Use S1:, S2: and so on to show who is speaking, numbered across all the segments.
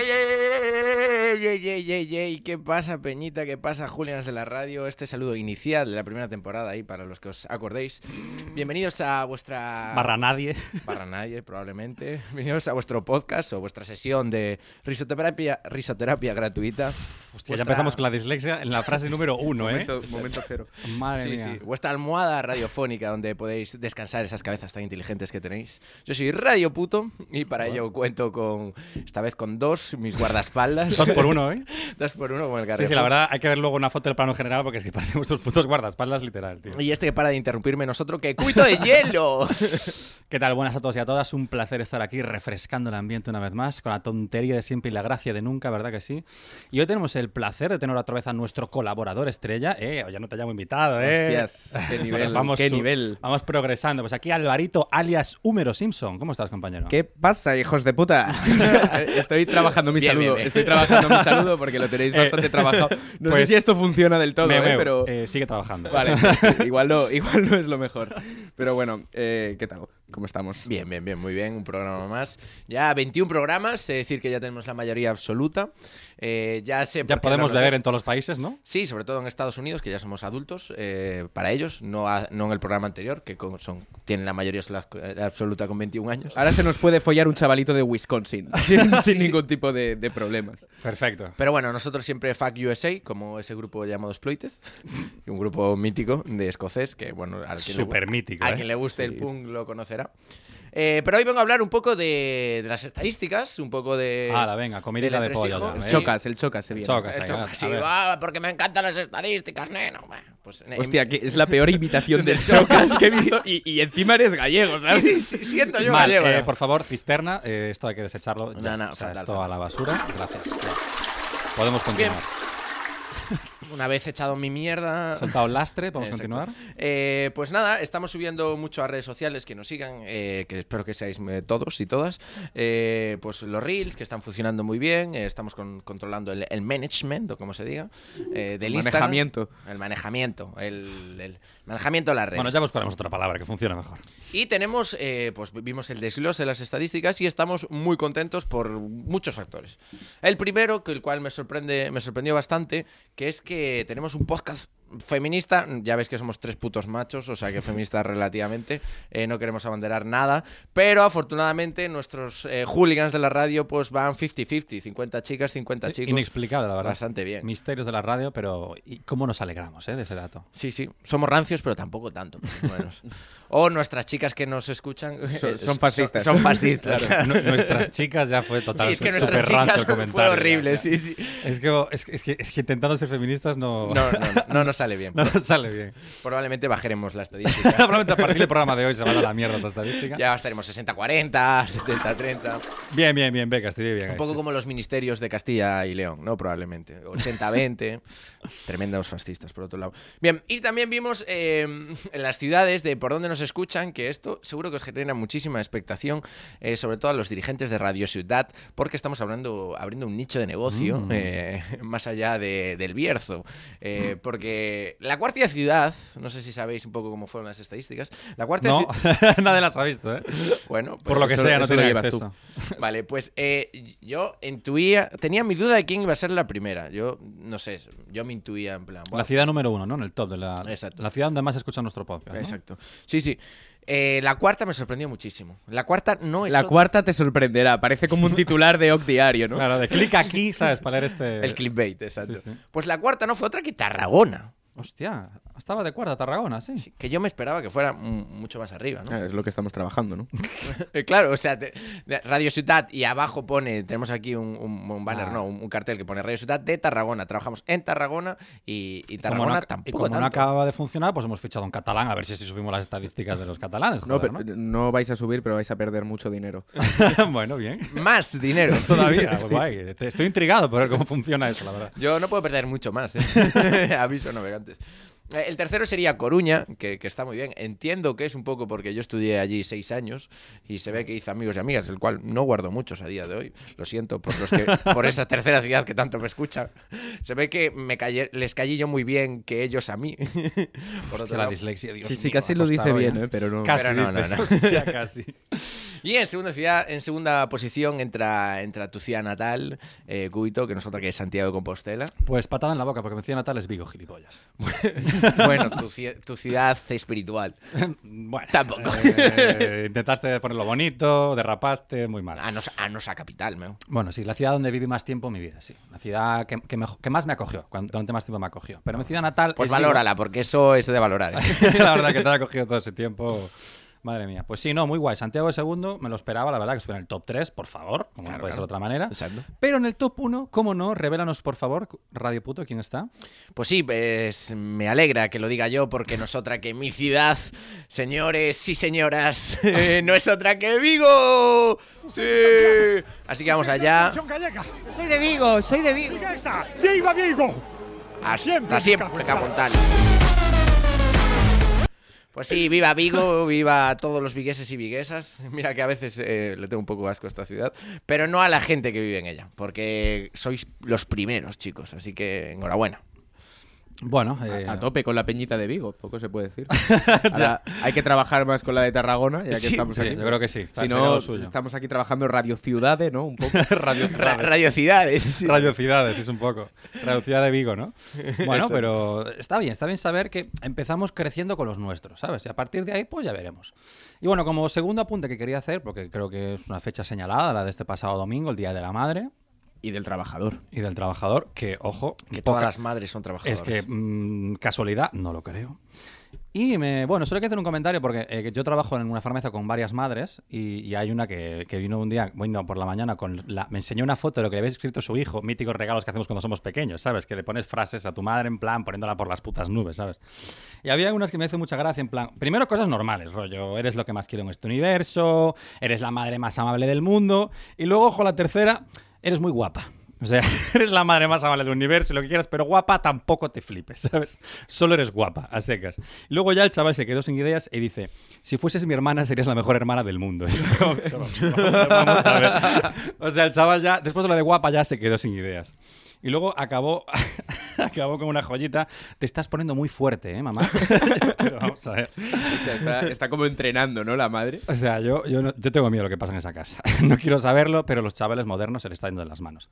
S1: ¡Ey, ey, ey, ey, ey, ey, ey! ¿Qué pasa, Peñita? ¿Qué pasa, Julians de la radio? Este saludo inicial de la primera temporada ahí para los que os acordéis. Bienvenidos a
S2: Ah.
S1: vuestra...
S3: barra nadie.
S1: Para nadie, probablemente. Bienvenidos a vuestro podcast o vuestra sesión de risoterapia, risoterapia gratuita.
S3: Hostia, ya empezamos con la dislexia en la frase número uno, ¿eh?
S2: Momento, momento cero.
S3: Madre
S1: Sí,
S3: mía.
S1: sí. Vuestra almohada radiofónica donde podéis descansar esas cabezas tan inteligentes que tenéis. Yo soy Radio Puto y para ello cuento con, esta vez con dos, mis guardaespaldas.
S3: Dos por uno, ¿eh?
S1: Dos por uno como el
S3: Sí, sí,
S1: Carrefour.
S3: la verdad, hay que ver luego una foto del plano general porque es que parecen vuestros putos guardaespaldas, literal, tío.
S1: Y este que para de interrumpirme nosotros, que cuito de hielo.
S3: ¿Qué tal? Buenas a todos y a todas. Un placer estar aquí refrescando el ambiente una vez más, con la tontería de siempre y la gracia de nunca, ¿verdad que sí? Y hoy tenemos el placer de tener otra vez a nuestro colaborador estrella. Eh, ya no te llamo invitado, ¿eh?
S2: Hostias, qué nivel, qué
S3: su-
S2: nivel.
S3: Vamos progresando. Pues aquí Alvarito, alias Húmero Simpson. ¿Cómo estás, compañero?
S2: ¿Qué pasa, hijos de puta? Estoy trabajando mi
S1: Bien,
S2: saludo.
S1: bien, bien.
S2: Estoy trabajando mi saludo porque lo tenéis
S3: Eh,
S2: bastante trabajado. No
S3: pues,
S2: sé si esto funciona del todo,
S3: Me
S2: eh,
S3: muevo.
S2: pero.
S3: Eh, sigue trabajando.
S2: Vale, pues, igual, no, igual no es lo mejor. Pero bueno, eh, ¿qué tal? ¿Cómo estamos?
S1: Bien, bien, bien, muy bien, un programa más. Ya 21 programas, es decir, que ya tenemos la mayoría absoluta. Eh, ya sé por
S3: Ya
S1: qué
S3: podemos
S1: nos-
S3: beber en todos los países, ¿no?
S1: Sí, sobre todo en Estados Unidos, que ya somos adultos, eh, para ellos, no, a- no en el programa anterior, que con- son, tienen la mayoría sola- absoluta con 21 años.
S2: Ahora se nos puede follar un chavalito de Wisconsin sin, sin ningún tipo de, de problemas.
S3: Perfecto.
S1: Pero bueno, nosotros siempre Fuck USA, como ese grupo llamado Exploited, un grupo mítico de escocés que, bueno, al que,
S3: Súper
S1: le,
S3: mítico,
S1: a
S3: ¿eh?
S1: quien le guste el punk lo conocerá. Eh, pero hoy vengo a hablar un poco de, de las estadísticas, un poco de...
S3: Ala, venga, comidita
S1: del
S3: de pollo
S1: entresijo.
S3: ya,
S2: El
S3: ¿eh?
S2: chocas, el chocas se viene.
S3: Chocas.
S1: Esto,
S3: venga,
S1: sí,
S3: a ver.
S1: va, porque me encantan las estadísticas, neno. Bueno, Pues, eh,
S2: Hostia, que es la peor imitación del chocas que he visto. Y, y encima eres gallego, ¿sabes?
S1: sí, sí, sí, siento yo
S3: Mal,
S1: gallego,
S3: eh,
S1: ¿no?
S3: por favor, cisterna, eh, esto hay que desecharlo. Ya,
S1: No, no,
S3: o sea,
S1: fatal,
S3: esto
S1: fatal.
S3: a la basura. Gracias. Ya. Podemos continuar.
S1: Una vez echado mi mierda.
S3: Soltado el lastre, podemos
S1: Exacto.
S3: continuar.
S1: Eh, pues nada, estamos subiendo mucho a redes sociales que nos sigan, eh, que espero que seáis eh, todos y todas. Eh, pues los reels que están funcionando muy bien, eh, estamos con- controlando el, el management, o como se diga, eh, del Instagram.
S2: Manejamiento.
S1: El manejamiento, el, el manejamiento de las redes.
S3: Bueno, ya buscaremos otra palabra que funcione mejor.
S1: Y tenemos, eh, pues vimos el desglose de las estadísticas y estamos muy contentos por muchos factores. El primero, que el cual me sorprende, me sorprendió bastante, que es que tenemos un podcast feminista. Ya veis que somos tres putos machos, o sea que feministas relativamente. eh, no queremos abanderar nada, pero afortunadamente nuestros eh, hooligans de la radio pues van 50-50, 50 chicas, 50
S3: Sí,
S1: chicos.
S3: Inexplicable, la verdad.
S1: Bastante bien.
S3: Misterios de la radio, pero ¿y cómo nos alegramos eh, de ese dato?
S1: Sí, sí, somos rancios, pero tampoco tanto. por lo menos. o nuestras chicas que nos escuchan eh,
S2: Son- son fascistas.
S1: Son, fascistas.
S3: Nu- Nuestras chicas ya fue
S1: Sí,
S3: total.
S1: es que
S3: súper
S1: nuestras
S3: rancio
S1: chicas
S3: el
S1: fue
S3: comentario,
S1: horrible,
S3: ya.
S1: sí, sí.
S3: Es que, es, que- es que, es que intentando ser feministas no,
S1: No, no, no, no nos sale bien.
S3: no nos sale bien.
S1: Probablemente bajaremos la estadística.
S3: Probablemente a partir del programa de hoy se va a la mierda esta estadística.
S1: Ya estaremos 60-40, 70-30.
S3: Bien, bien, bien, Beca, estoy bien.
S1: Un
S3: guys.
S1: poco como los ministerios de Castilla y León, ¿no? Probablemente. 80-20. Tremendos fascistas, por otro lado. Bien, y también vimos eh, en las ciudades de por dónde nos escuchan que esto seguro que os genera muchísima expectación, eh, sobre todo a los dirigentes de Radio Ciudad, porque estamos hablando, abriendo un nicho de negocio
S3: Mm.
S1: eh, más allá de- del Bierzo. Eh, porque la cuarta ciudad, no sé si sabéis un poco cómo fueron las estadísticas, la cuarta
S3: No,
S1: ciudad...
S3: nadie las ha visto, ¿eh?
S1: Bueno, pues-
S3: Por lo que
S2: eso-
S3: sea, no
S2: eso lo
S3: tiene
S2: llevas
S3: acceso.
S1: Vale, pues eh, yo intuía, tenía mi duda de quién iba a ser la primera. Yo no sé, yo me intuía en plan. "Buah".
S3: La ciudad número uno, ¿no? En el top de la,
S1: Exacto.
S3: la ciudad donde más escuchan nuestro podcast. ¿no?
S1: Exacto. Sí, sí. Eh, la cuarta me sorprendió muchísimo. La cuarta no es.
S2: La
S1: otra-
S2: cuarta te sorprenderá. Parece como un titular de Oc Diario, ¿no?
S3: Claro, de clic aquí, ¿sabes? Para leer este.
S1: El clickbait, exacto.
S3: Sí, sí.
S1: Pues la cuarta no fue otra que Tarragona.
S3: Hostia. Estaba de cuarta Tarragona, sí.
S1: Que yo me esperaba que fuera mm, mucho más arriba, ¿no?
S3: Eh.
S2: Ah, es lo que estamos trabajando, ¿no?
S1: Eh, Claro, o sea, te- de- Radio Ciudad y abajo pone, tenemos aquí un, un- un banner,
S3: Ah.
S1: no, un, un cartel que pone Radio Ciudad de Tarragona. Trabajamos en Tarragona y, y
S3: Como no
S1: Tarragona
S3: ac- y
S1: tampoco
S3: como no
S1: tanto.
S3: acaba de funcionar, pues hemos fichado a un catalán a ver si así subimos las estadísticas de los catalanes.
S2: No,
S3: joder,
S2: pero- no vais a subir, pero vais a perder mucho dinero.
S3: ¿no? bueno, bien.
S1: Más dinero.
S3: Todavía, guay. Te- Estoy intrigado por ver cómo funciona eso, la verdad.
S1: Yo no puedo perder mucho más. ¿eh? Aviso navegantes. Eh, El tercero sería Coruña, que, que está muy bien. Entiendo que es un poco porque yo estudié allí seis años y se ve que hice amigos y amigas, el cual no guardo muchos a día de hoy. Lo siento por los que por esa tercera ciudad que tanto me escucha. Se ve que me callé- les callé yo muy bien que ellos a mí. Por
S3: Que
S1: otro
S3: la
S1: lado.
S3: dislexia, Dios
S2: sí, sí,
S3: mío,
S2: casi
S3: me
S2: lo
S3: ha
S2: dice
S3: costado
S2: bien,
S3: ya.
S2: ¿eh? Pero no.
S3: Casi,
S1: Pero no,
S3: dice.
S1: no, no.
S3: Ya casi.
S1: Y en segunda ciudad, en segunda posición entra, entra tu ciudad natal, eh, Cuito, que nosotros que es Santiago de Compostela.
S3: Pues patada en la boca, porque me decía Natal es Vigo, gilipollas.
S1: Bueno, tu, ci- tu ciudad espiritual.
S3: Bueno.
S1: Tampoco.
S3: eh, intentaste ponerlo bonito, derrapaste, muy mal.
S1: A no, a no ser capital, meu.
S3: Bueno, sí, la ciudad donde viví más tiempo en mi vida, sí. La ciudad que, que mejo- que más me acogió, cuando, durante más tiempo me acogió. Pero mi ciudad natal.
S1: Pues
S3: es Vigo.
S1: valórala, porque eso es de valorar. ¿eh?
S3: la verdad que te ha cogido todo ese tiempo. Madre mía. Pues sí, no, muy guay. Santiago II me lo esperaba, la verdad, que estuviera en el top 3, por favor, como no puede ser de otra manera.
S1: Exacto.
S3: Pero en el top 1, ¿cómo no? Revélanos, por favor, Radio Puto, ¿quién está?
S1: Pues sí, pues me alegra que lo diga yo, porque no es otra que mi ciudad, señores y señoras, eh, no es otra que Vigo. Sí. Así que vamos allá.
S4: Son gallega.
S5: Soy de Vigo, soy de Vigo.
S4: Esa. ¡Viva Vigo!
S1: Hasta siempre, Capontano. Pues sí, viva Vigo, viva a todos los vigueses y viguesas. Mira que a veces eh, le tengo un poco asco a esta ciudad, pero no a la gente que vive en ella, porque sois los primeros, chicos, así que enhorabuena.
S3: Bueno,
S2: A-
S3: eh,
S2: A tope con la peñita de Vigo, poco se puede decir. Ahora, hay que trabajar más con la de Tarragona, ya que
S1: Sí,
S2: estamos
S3: sí,
S2: aquí.
S3: yo creo que sí, está-
S2: si
S3: sería
S2: no,
S3: lo suyo.
S2: estamos aquí trabajando Radio Ciudades, ¿no? Un poco.
S3: Radio
S1: Ra- radiocidades. sí.
S3: Radio Ciudades, es un poco. Radio Ciudad de Vigo, ¿no? Bueno, pero está bien, está bien saber que empezamos creciendo con los nuestros, ¿sabes? Y a partir de ahí, pues ya veremos. Y bueno, como segundo apunte que quería hacer, porque creo que es una fecha señalada, la de este pasado domingo, el Día de la Madre
S2: y del trabajador.
S3: y del Trabajador, que, ojo,
S1: Que todas
S3: poca-
S1: las madres son trabajadoras.
S3: es que mm, casualidad, no lo creo. Y me, bueno, solo hay que hacer un comentario porque eh, que yo trabajo en una farmacia con varias madres y, y hay una que, que vino un día, bueno, por la mañana, con la, me enseñó una foto de lo que le había escrito su hijo, míticos regalos que hacemos cuando somos pequeños, ¿sabes? Que le pones frases a tu madre en plan poniéndola por las putas nubes, ¿sabes? Y había unas que me hacen mucha gracia, en plan, primero cosas normales, rollo, eres lo que más quiero en este universo, eres la madre más amable del mundo, y luego, ojo, la tercera, eres muy guapa. O sea, eres la madre más amable del universo y lo que quieras, pero guapa tampoco te flipes, ¿sabes? Solo eres guapa, a secas. Y luego ya el chaval se quedó sin ideas y dice, si fueses mi hermana serías la mejor hermana del mundo. Y yo, "Pero, vamos a ver". O sea, el chaval ya, después de lo de guapa ya se quedó sin ideas. Y luego acabó, acabó con una joyita, te estás poniendo muy fuerte, ¿eh, mamá? Pero vamos a ver.
S2: Hostia, está, está como entrenando, ¿no? La madre.
S3: O sea, yo, yo, no- yo tengo miedo a lo que pasa en esa casa. No quiero saberlo, pero los chavales modernos se le está yendo de las manos.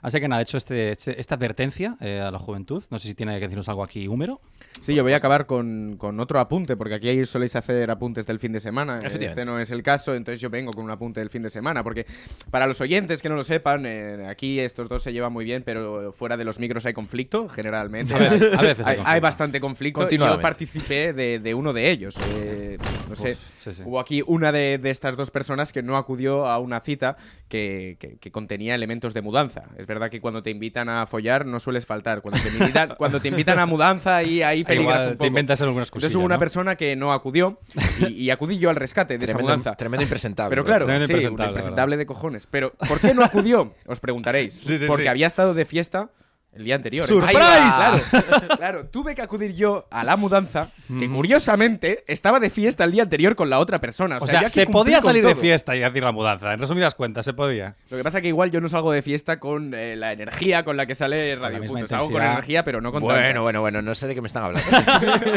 S3: Así que nada, he hecho este, este- esta advertencia eh, a la juventud. No sé si tiene que decirnos algo aquí húmero.
S2: Sí, yo voy a acabar con, con otro apunte, porque aquí ahí soléis hacer apuntes del fin de semana.
S1: Efectivamente.
S2: Este no es el caso, entonces yo vengo con un apunte del fin de semana, porque para los oyentes que no lo sepan, eh, aquí estos dos se llevan muy bien, pero fuera de los micros hay conflicto, generalmente.
S3: A veces- a veces hay
S2: hay,
S3: conflicto.
S2: bastante conflicto. y Yo
S1: Continuamente.
S2: participé de, de uno de ellos. eh, no sé,
S3: sí, sí.
S2: hubo aquí una de, de estas dos personas que no acudió a una cita que, que- que contenía elementos de mudanza. Es verdad que cuando te invitan a follar no sueles faltar. Cuando te invitan, cuando te invitan a mudanza y ahí peligras
S3: Igual
S2: un poco.
S3: te inventas algunas cosas.
S2: Entonces hubo una persona que no acudió y, y acudí yo al rescate de esa
S1: tremendo,
S2: mudanza.
S1: em, tremendo impresentable.
S2: Pero claro,
S3: Tremendo
S2: sí,
S3: impresentable,
S2: un
S3: la
S2: impresentable de cojones. Pero ¿por qué no acudió? Os preguntaréis.
S3: Sí, sí,
S2: Porque
S3: sí.
S2: había estado de fiesta el día anterior.
S1: ¡Surprise!
S3: Ah.
S2: Ahí va. Claro, claro, tuve que acudir yo a la mudanza,
S3: Mm.
S2: que curiosamente estaba de fiesta el día anterior con la otra persona.
S3: O sea,
S2: yo aquí
S3: se
S2: cumplí
S3: podía
S2: con
S3: salir de
S2: todo.
S3: fiesta y hacer la mudanza. En resumidas cuentas, se podía.
S2: Lo que pasa que igual yo no salgo de fiesta con eh, la energía con la que sale Radio
S3: misma
S2: Puto. Salgo con
S3: intensidad.
S2: energía, pero no con tanta.
S1: Bueno, bueno, bueno, no sé de qué me están hablando.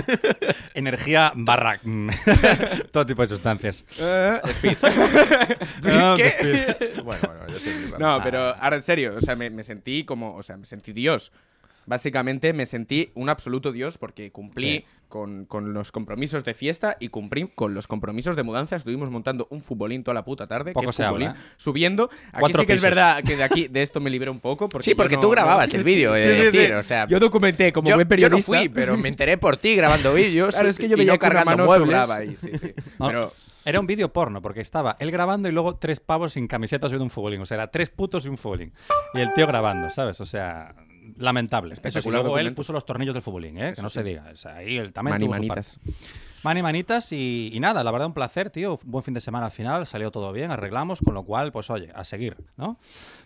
S3: Energía barra. mm, todo tipo de sustancias.
S2: Eh,
S3: Ah, despido.
S1: bueno, bueno, yo estoy flipando.
S2: No, pero ahora en serio, o sea, me, me sentí como, o sea, me sentí Dios. Básicamente me sentí un absoluto dios porque cumplí con, con los compromisos de fiesta y cumplí con los compromisos de mudanza. Estuvimos montando un futbolín toda la puta tarde.
S3: Poco
S2: ¿qué
S3: se habla,
S2: futbolín?
S3: ¿eh?
S2: Subiendo. Aquí
S3: Cuatro
S2: sí que es
S3: pisos.
S2: verdad que de aquí de esto me libré un poco. Porque
S1: Sí,
S2: yo
S1: porque
S2: no-
S1: tú grababas
S2: no-
S1: el vídeo, he de
S2: Sí, sí, sí.
S1: decir, o sea,
S2: yo documenté como
S1: yo,
S2: buen
S1: yo no
S2: periodista.
S1: fui, pero me enteré por ti grabando vídeos.
S2: Claro, es que yo
S1: y
S2: veía
S1: no
S2: que una
S1: cargando
S2: mano
S1: muebles.
S2: sobraba ahí, sí, sí.
S3: No,
S2: Pero
S3: Era un vídeo porno, porque estaba él grabando y luego tres pavos sin camiseta subiendo un futbolín. O sea, era tres putos y un futbolín. Y el tío grabando, ¿sabes? O sea, lamentable. Eso sí,
S2: Espectacular
S3: luego él
S2: documento.
S3: puso los tornillos del futbolín, ¿eh? que no se diga. O sea, ahí él también
S2: mani
S3: tuvo su
S2: manitas.
S3: parte. Mani manitas y, y nada, la verdad un placer, tío. Un Buen fin de semana al final, salió todo bien, arreglamos, con lo cual, pues oye, a seguir, ¿no?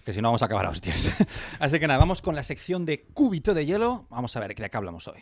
S3: Que si no vamos a acabar a hostias. Así que nada, vamos con la sección de cúbito de hielo. Vamos a ver de qué hablamos hoy.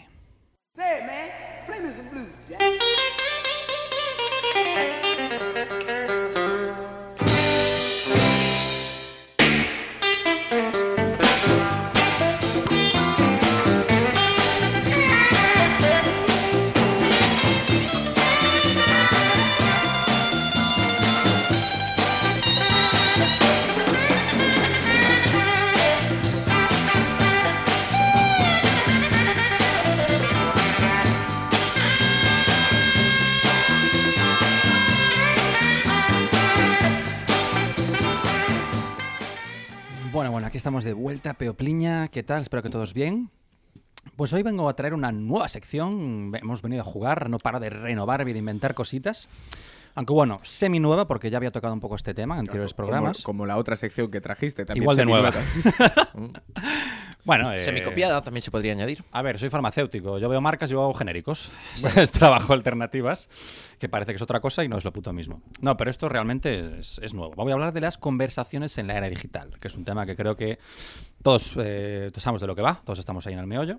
S3: Bueno, bueno, aquí estamos de vuelta, Peopliña. ¿Qué tal? Espero que todos bien. Pues hoy vengo a traer una nueva sección. Hemos venido a jugar, no paro de renovar y de inventar cositas. Aunque bueno, semi nueva, porque ya había tocado un poco este tema en anteriores
S2: Como-
S3: programas.
S2: Como, la otra sección que trajiste también.
S3: Igual de nueva.
S2: seminueva.
S3: bueno, eh,
S1: Semicopiada también se podría añadir.
S3: A ver, soy farmacéutico. Yo veo marcas, yo hago genéricos. Es trabajo alternativas, que parece que es otra cosa y no es lo puto mismo. No, pero esto realmente es, es nuevo. Voy a hablar de las conversaciones en la era digital, que es un tema que creo que todos, eh, todos sabemos de lo que va, todos estamos ahí en el meollo.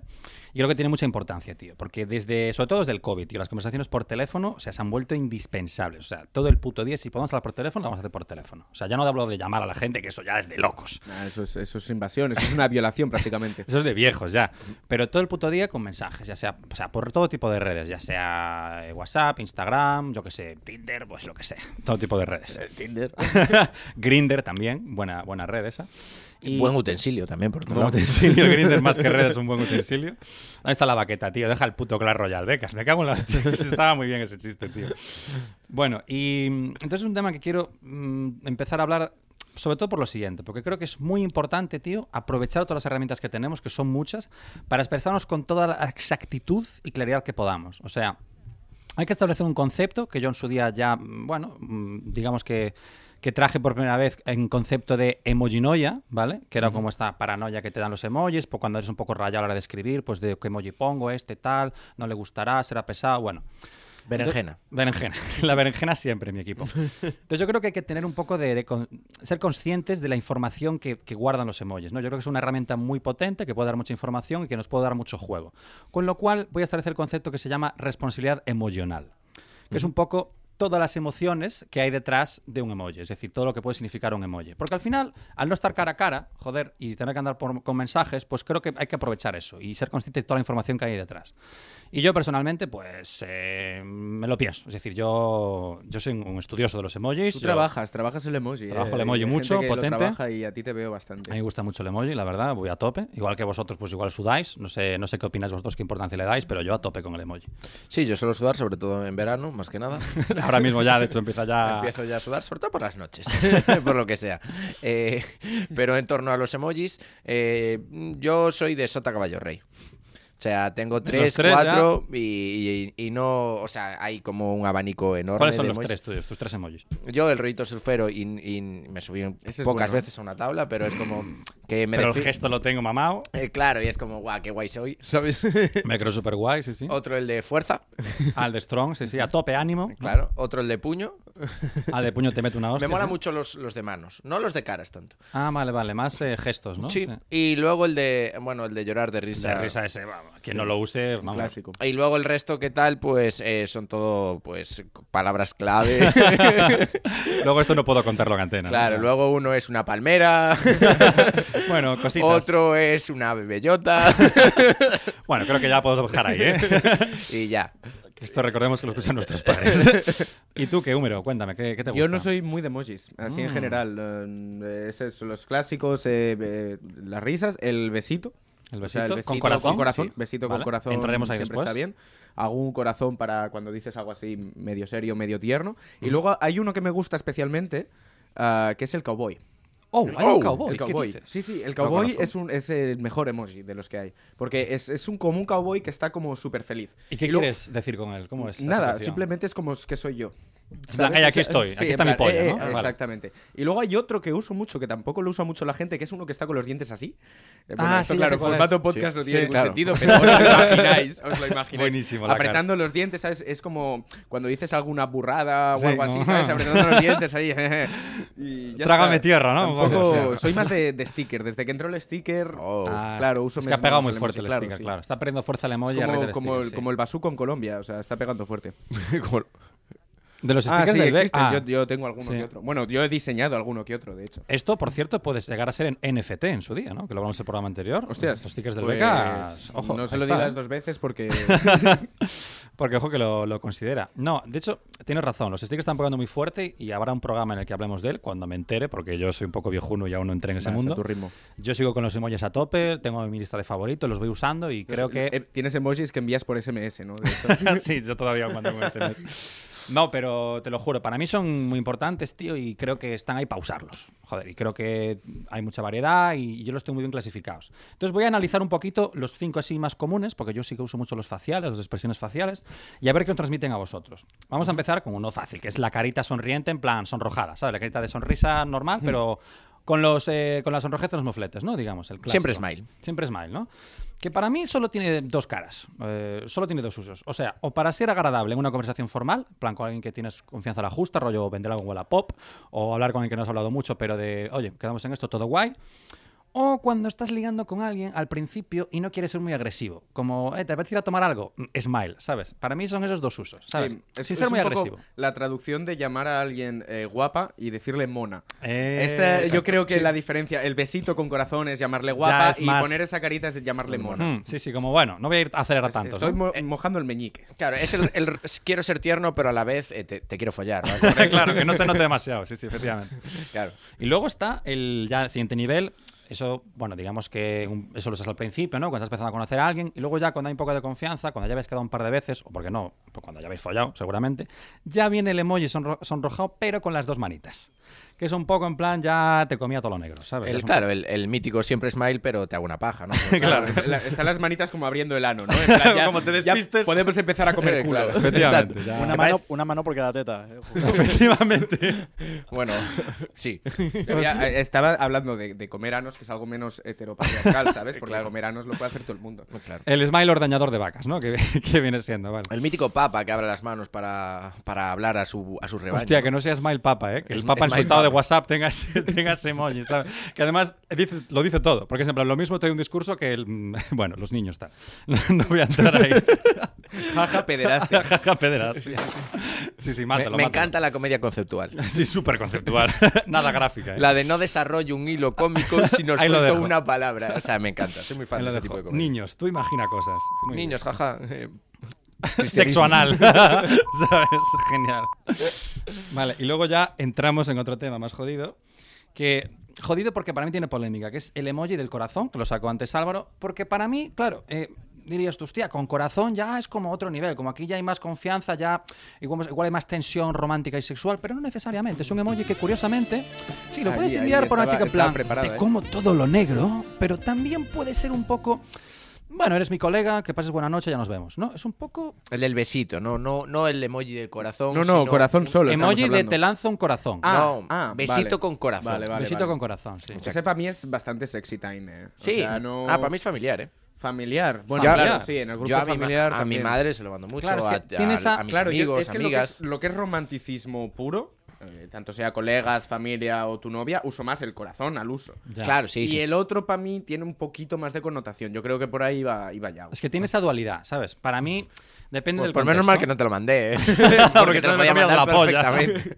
S3: Y creo que tiene mucha importancia, tío, porque desde, sobre todo desde el COVID, tío, las conversaciones por teléfono o sea, se han vuelto indispensables. O sea, todo el puto día, si podemos hablar por teléfono, lo vamos a hacer por teléfono. O sea, ya no hablo de llamar a la gente, que eso ya es de locos.
S2: Nah, eso, es, eso es invasión, eso es una violación prácticamente.
S3: Eso es de viejos ya. Pero todo el puto día con mensajes, ya sea, o sea por todo tipo de redes, ya sea eh, WhatsApp, Instagram, yo que sé, Tinder, pues lo que sea. Todo tipo de redes.
S2: Tinder.
S3: Grinder también, buena, buena red esa. Y
S1: Buen utensilio también, por otro
S3: buen
S1: lado.
S3: utensilio, Grinder más que red es un buen utensilio. Ahí está la baqueta, tío. Deja el puto Clash Royale, becas. Me cago en las tías. Estaba muy bien ese chiste, tío. Bueno, y mm, entonces es un tema que quiero mm, empezar a hablar sobre todo por lo siguiente, porque creo que es muy importante, tío, aprovechar todas las herramientas que tenemos, que son muchas, para expresarnos con toda la exactitud y claridad que podamos. O sea, hay que establecer un concepto que yo en su día ya, mm, bueno, mm, digamos que, que traje por primera vez en concepto de emojinoia, ¿vale? Que era como esta paranoia que te dan los emojis, pues cuando eres un poco rayado a la hora de escribir, pues de qué emoji pongo, este tal, no le gustará, será pesado, bueno.
S1: Berenjena.
S3: Entonces- berenjena. La berenjena siempre, mi equipo. Entonces yo creo que hay que tener un poco de, de con- ser conscientes de la información que, que guardan los emojis. ¿no? Yo creo que es una herramienta muy potente que puede dar mucha información y que nos puede dar mucho juego. Con lo cual voy a establecer el concepto que se llama responsabilidad emocional, que es un poco todas las emociones que hay detrás de un emoji, es decir, todo lo que puede significar un emoji. Porque al final, al no estar cara a cara, joder, y tener que andar por- con mensajes, pues creo que hay que aprovechar eso y ser consciente de toda la información que hay detrás. Y yo personalmente, pues eh, me lo pienso. Es decir, yo, yo soy un estudioso de los emojis.
S2: Tú
S3: yo-
S2: trabajas, trabajas el emoji.
S3: Trabajo
S2: eh,
S3: el emoji
S2: hay gente
S3: mucho,
S2: que lo
S3: potente.
S2: trabaja y a ti te veo
S3: A mí me
S2: bastante.
S3: gusta mucho el emoji, la verdad, voy a tope. Igual que vosotros, pues igual sudáis. No sé, no sé qué opináis vosotros, qué importancia le dais, pero yo a tope con el emoji.
S1: Sí, yo suelo sudar, sobre todo en verano, más que nada.
S3: Ahora mismo ya, de hecho, empieza ya.
S1: Empiezo ya a sudar, sobre todo por las noches, por lo que sea. Eh, pero en torno a los emojis, eh, yo soy de Sota Caballo Rey. O sea, tengo tres,
S3: tres ya.
S1: cuatro y, y- y no. O sea, hay como un abanico enorme.
S3: ¿Cuáles son
S1: de
S3: los
S1: emojis.
S3: tres tuyos, tus tres emojis?
S1: Yo, el rollito surfero, y, y me subí un-
S2: Ese es
S1: pocas
S2: bueno.
S1: veces a una tabla, pero es como que me
S3: pero
S1: defi-
S3: el gesto lo tengo mamado.
S1: Eh, Claro, y es como, guau, qué guay soy, ¿sabes?
S3: Me creo súper guay, sí, sí.
S1: Otro el de fuerza,
S3: Al de Strong, sí, sí. A tope, ánimo.
S1: claro. Otro el de puño.
S3: Al de puño te meto una hostia.
S1: me mola
S3: sí.
S1: mucho los, los de manos, no los de caras tanto.
S3: Ah, vale, vale. Más eh, gestos, ¿no?
S1: Sí. Y luego el de, bueno, el de llorar de
S3: O
S1: risa.
S3: sea, risa ese, vamos. Quien no lo use, vamos.
S2: Clásico.
S1: Y luego el resto, ¿qué tal? Pues eh, son todo, pues, palabras clave.
S3: Luego esto no puedo contarlo en antena.
S1: claro,
S3: ¿no?
S1: luego uno es una palmera,
S3: Bueno, cositas.
S1: otro es una bellota
S3: Bueno, creo que ya podemos bajar ahí, ¿eh?
S1: y ya.
S3: Esto recordemos que lo escuchan nuestros padres. ¿Y tú qué húmero? Cuéntame, ¿qué, qué te gusta? Mm.
S2: Yo no soy muy de emojis, así en general. eh, es eso, los clásicos, eh, eh, las risas, el besito.
S3: El
S2: O sea,
S3: besito,
S2: el
S3: con corazón.
S1: sí.
S2: Besito
S3: Vale,
S2: con corazón.
S3: entraremos ahí
S2: siempre
S3: después.
S2: está bien. Hago un corazón para cuando dices algo así medio serio, medio tierno.
S3: Mm.
S2: Y luego hay uno que me gusta especialmente, ah, que es el cowboy.
S3: Oh, hay un
S1: Oh,
S3: cowboy.
S2: el
S3: ¿qué
S2: cowboy.
S3: dices?
S2: Sí, sí, el
S1: No lo
S2: cowboy
S1: conozco.
S2: es, un, es el mejor emoji de los que hay. Porque es, es un común cowboy que está como súper feliz.
S3: ¿Y qué
S2: luego-
S3: quieres decir con él? ¿Cómo es? la
S2: Nada,
S3: situación?
S2: simplemente es como es que soy yo.
S3: En plan,
S2: ¿Sabes?
S3: "Ey,
S2: O
S3: aquí
S2: sea,
S3: estoy,
S2: sí,
S3: aquí
S2: en
S3: está mi
S2: plan,
S3: polla, ¿no?
S2: eh, eh,
S3: Ah, vale.
S2: Exactamente. Y luego hay otro que uso mucho, que tampoco lo usa mucho la gente, que es uno que está con los dientes así. Eh, bueno,
S3: Ah,
S2: esto,
S3: sí, ya
S2: claro,
S3: sé cuál
S2: formato
S3: es.
S2: podcast
S3: Sí,
S2: no
S3: sí,
S2: tiene ningún
S3: claro.
S2: sentido, pero os lo imagináis, os lo imagináis.
S3: Buenísimo la cara.
S2: Apretando los dientes, ¿sabes? Es como cuando dices alguna burrada o
S3: Sí,
S2: algo
S3: ¿no?
S2: así, ¿sabes? Apretando los dientes ahí. y ya
S3: Trágame
S2: está.
S3: tierra, ¿no? Un
S2: Tampoco-
S3: poco, sí.
S2: soy más de, de sticker. Desde que entró el sticker,
S1: Oh.
S3: Ah,
S2: claro,
S3: es-
S2: uso
S3: es que
S2: menos
S3: ha pegado
S2: el
S3: muy
S2: emoji,
S3: fuerte el
S2: claro,
S3: sticker,
S2: sí.
S3: claro. Está perdiendo fuerza el
S2: es
S3: emoji a raíz
S2: como,
S3: del
S2: como
S3: sticker,
S2: el,
S3: sí.
S2: como el bazú con Colombia, o sea, está pegando fuerte.
S1: Como-
S3: De los
S2: Ah,
S3: stickers
S2: sí,
S3: del Beck-
S2: existen.
S3: ah.
S2: Yo, yo tengo alguno
S3: Sí.
S2: que otro. Bueno, yo he diseñado alguno que otro, de hecho.
S3: Esto, por cierto, puede llegar a ser en NFT en su día, ¿no? Que lo hablamos en el programa anterior.
S2: Hostias.
S3: Los stickers del
S2: pues,
S3: Becas. Ojo,
S2: No se
S3: ahí
S2: lo
S3: está,
S2: digas
S3: ¿eh?
S2: dos veces porque.
S3: Porque ojo que lo, lo considera. No, de hecho, tienes razón. Los stickers están pegando muy fuerte y habrá un programa en el que hablemos de él cuando me entere, porque yo soy un poco viejuno y aún no entré en ese
S2: Vas a
S3: mundo.
S2: tu ritmo.
S3: Yo sigo con los emojis a tope, tengo mi lista de favoritos, los voy usando y creo que.
S2: Eh, Tienes emojis que envías por SMS, ¿no? De hecho.
S3: sí, yo todavía mando un SMS. No, pero te lo juro, para mí son muy importantes, tío, y creo que están ahí para usarlos. Joder, y creo que hay mucha variedad y yo los tengo muy bien clasificados. Entonces voy a analizar un poquito los cinco así más comunes, porque yo sí que uso mucho los faciales, las expresiones faciales, y a ver qué os transmiten a vosotros. Vamos a empezar con uno fácil, que es la carita sonriente en plan sonrojada, ¿sabes? La carita de sonrisa normal, pero con, los, eh, con la sonrojez en los mofletes, ¿no? Digamos, el clásico.
S1: Siempre smile.
S3: Siempre Smile, ¿no? Que para mí solo tiene dos caras, eh, solo tiene dos usos. O sea, o para ser agradable en una conversación formal, en plan con alguien que tienes confianza a la justa, rollo vender algo en pop, o hablar con alguien que no has hablado mucho, pero de, oye, quedamos en esto, todo guay. O cuando estás ligando con alguien al principio y no quieres ser muy agresivo, como, eh, te apetece ir a tomar algo, Mm, smile, ¿sabes? Para mí son esos dos usos, ¿sabes?
S2: Sí, es-
S3: Sin
S2: es
S3: ser muy
S2: un poco
S3: agresivo.
S2: La traducción de llamar a alguien eh, guapa y decirle mona.
S3: Eh,
S2: Esta-
S3: exacto,
S2: Este, yo creo que
S3: sí.
S2: la diferencia, el besito con corazón es llamarle guapa
S3: es
S2: y
S3: más-
S2: poner esa carita es llamarle mona.
S3: Mm, Eh. sí, sí, como, bueno, no voy a ir a acelerar tanto.
S2: Estoy mo- mojando el meñique.
S1: Claro, es el, el- quiero ser tierno, pero a la vez eh, te, te quiero follar. ¿no?
S3: claro, que no se note demasiado, sí, sí, efectivamente.
S1: Claro.
S3: Y luego está el ya el siguiente nivel. Eso, bueno, digamos que un- eso lo usas al principio, ¿no? Cuando estás empezando a conocer a alguien. Y luego ya cuando hay un poco de confianza, cuando ya habéis quedado un par de veces, o porque no, pues cuando ya habéis follado, seguramente, ya viene el emoji sonro- sonrojado, pero con las dos manitas. Que es un poco en plan, ya te comía todo lo negro, ¿sabes? Ya
S1: El,
S3: es un
S1: claro, el, el mítico siempre smile, pero te hago una paja, ¿no?
S2: Claro, es- la- están las manitas como abriendo el ano, ¿no? En plan, ya-
S3: Como te
S2: ya
S3: despistes. Eh,
S2: Podemos empezar a comer culo.
S1: Claro.
S3: poco- Efectivamente,
S1: Exacto.
S3: ya-
S1: Me
S4: Una mano, una mano por cada teta.
S3: Efectivamente.
S1: Bueno, sí.
S2: Ya, ya, eh, estaba hablando de, de comer anos, que es algo menos heteropatriarcal, ¿sabes? Porque comer anos lo puede hacer todo el mundo.
S3: Pues
S1: Claro.
S3: El smile ordeñador de vacas, ¿no? Que, que viene siendo, vale.
S1: El mítico papa que abre las manos para, para hablar a su, a su rebaño.
S3: Hostia, que no sea Smile Papa, ¿eh? Que el
S1: Sm-
S3: Papa en su
S1: Smile
S3: estado de
S1: Papa.
S3: WhatsApp tenga ese, tenga ese emoji, ¿sabes? Que además eh, dice- lo dice todo. Porque siempre lo mismo te doy un discurso que el... mm, Bueno, los niños tal. No, no voy a entrar ahí.
S2: Jaja, pederastia.
S3: Jaja, pederastia. Sí, sí,
S1: Me,
S3: mátalo,
S1: me
S3: mátalo.
S1: encanta la comedia conceptual.
S3: Sí, súper conceptual. Nada gráfica, ¿eh?
S1: La de no desarrollo un hilo cómico sino
S3: Ahí lo
S1: suelto
S3: dejo.
S1: una palabra. O sea, me encanta. Soy muy fan
S3: Ahí
S1: de
S3: lo
S1: ese
S3: dejo.
S1: tipo de comedia.
S3: Niños, tú imagina cosas. Muy bien.
S1: Niños, jaja. eh,
S3: sexo anal. ¿Sabes? Genial. Vale, y luego ya entramos en otro tema más jodido. Que. Jodido porque para mí tiene polémica, que es el emoji del corazón, que lo sacó antes Álvaro. Porque para mí, claro. eh, Dirías tú, hostia, con corazón ya es como otro nivel, como aquí ya hay más confianza, ya igual, igual hay más tensión romántica y sexual, pero no necesariamente. Es un emoji que curiosamente, sí, lo
S2: Ahí,
S3: puedes
S2: ahí
S3: enviar por una chica
S2: estaba-
S3: en
S2: estaba
S3: plan,
S2: preparado,
S3: te
S2: ¿eh?
S3: como todo lo negro, pero también puede ser un poco, bueno, eres mi colega, que pases buena noche, ya nos vemos, ¿no? Es un poco
S1: El del besito, no, no, no el emoji del corazón.
S2: No, no,
S1: sino
S2: corazón
S1: un-
S2: solo. estamos
S3: Emoji de
S2: hablando.
S3: te lanzo un corazón.
S2: Ah,
S1: no,
S2: ah,
S1: besito
S2: vale.
S1: con corazón.
S2: Vale, vale.
S3: Besito con corazón, sí.
S2: Ese para mí es bastante sexy time, ¿eh? O
S1: Sí.
S2: sea, no-
S1: Ah, para mí es familiar, ¿eh?
S2: Familiar. Bueno,
S3: Yo-
S2: claro, sí, en el grupo
S1: Yo a mi ma-
S2: familiar
S1: a mi
S2: también.
S1: madre se lo mando mucho,
S3: Claro, es
S1: a,
S3: que tiene
S1: a-
S3: esa-
S1: a mis
S2: Claro, yo-
S1: amigos,
S2: es que lo que
S1: amigas.
S2: es, lo que es romanticismo puro, eh, tanto sea colegas, familia o tu novia, uso más el corazón al uso.
S3: Ya.
S1: Claro, sí,
S2: y
S1: sí.
S2: el otro para mí tiene un poquito más de connotación. Yo creo que por ahí iba, iba Yago.
S3: Es que tiene esa dualidad, ¿sabes? Para mí, depende
S1: Por,
S3: del
S1: por
S3: contexto.
S1: menos mal que no te lo mandé, ¿eh? te
S3: Porque se
S1: lo
S3: me
S1: podía
S3: comía
S1: mandar
S3: la polla.
S1: perfectamente.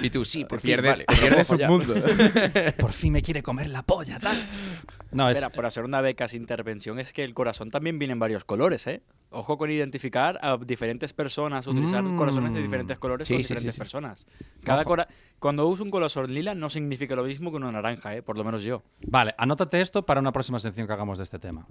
S1: Y tú, sí, por
S2: Te pierdes,
S1: fin,
S2: te
S1: vale,
S2: pierdes
S1: lo
S2: un
S1: puedo follar.
S2: mundo.
S3: Por fin me quiere comer la polla, tal. No, Ah, es...
S4: Espera, por hacer una beca sin intervención, es que el corazón también viene en varios colores, ¿eh? Ojo con identificar a diferentes personas, utilizar
S3: Mm.
S4: corazones de diferentes colores
S1: Sí,
S4: con
S1: sí, sí,
S4: diferentes
S1: sí.
S4: personas. Cada
S3: Ojo.
S4: cora- Cuando uso un colosor lila no significa lo mismo que una naranja, ¿eh? por lo menos yo.
S3: Vale, anótate esto para una próxima sección que hagamos de este tema.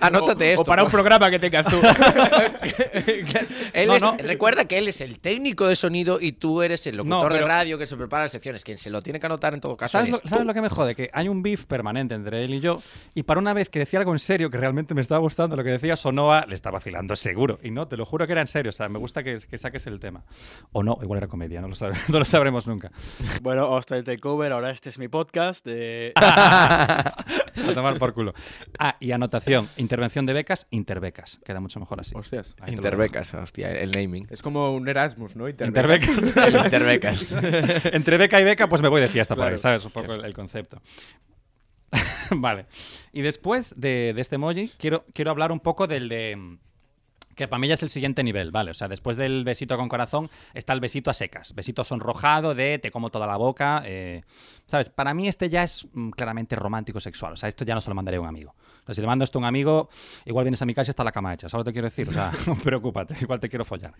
S1: Anótate
S2: o,
S1: esto.
S2: O para un programa que tengas tú.
S1: Él
S3: No,
S1: es-
S3: no.
S1: Recuerda que él es el técnico de sonido y tú eres el locutor
S3: No, pero-
S1: de radio que se prepara las secciones. Quien se lo tiene que anotar en este. todo caso
S3: ¿Sabes
S1: es
S3: lo,
S1: tú.
S3: sabes lo que me jode? Que hay un beef permanente entre él y yo, y para una vez que decía algo en serio, que realmente me estaba gustando lo que decía, Sonoa le está vacilando seguro. Y no, te lo juro que era en serio. O sea, me gusta que, que saques el tema. O no, igual era comedia, no lo, sabe- no lo sabremos nunca.
S4: Bueno, hasta el takeover, ahora este es mi podcast. De...
S3: A tomar por culo. Ah, y anotación: intervención de becas, interbecas. Queda mucho mejor así. Ahí
S2: Hostias.
S3: te lo dejo.
S1: Interbecas, hostia, el naming.
S2: Es como un Erasmus, ¿no?
S3: Interbecas.
S1: El Interbecas.
S3: Entre beca y beca, pues me voy de fiesta por
S2: Claro.
S3: ahí, ¿sabes? Un poco el, el concepto. vale. Y después de, de este emoji, quiero, quiero hablar un poco del de. mm, Que para mí ya es el siguiente nivel, ¿vale? O sea, después del besito con corazón está el besito a secas. Besito sonrojado de te como toda la boca. eh, ¿Sabes? Para mí este ya es mm, claramente romántico sexual. O sea, esto ya no se lo mandaré a un amigo. O sea, si le mando esto a un amigo, igual vienes a mi casa y está la cama hecha. ¿Sabes lo que te quiero decir? O sea, no preocúpate, igual te quiero follar.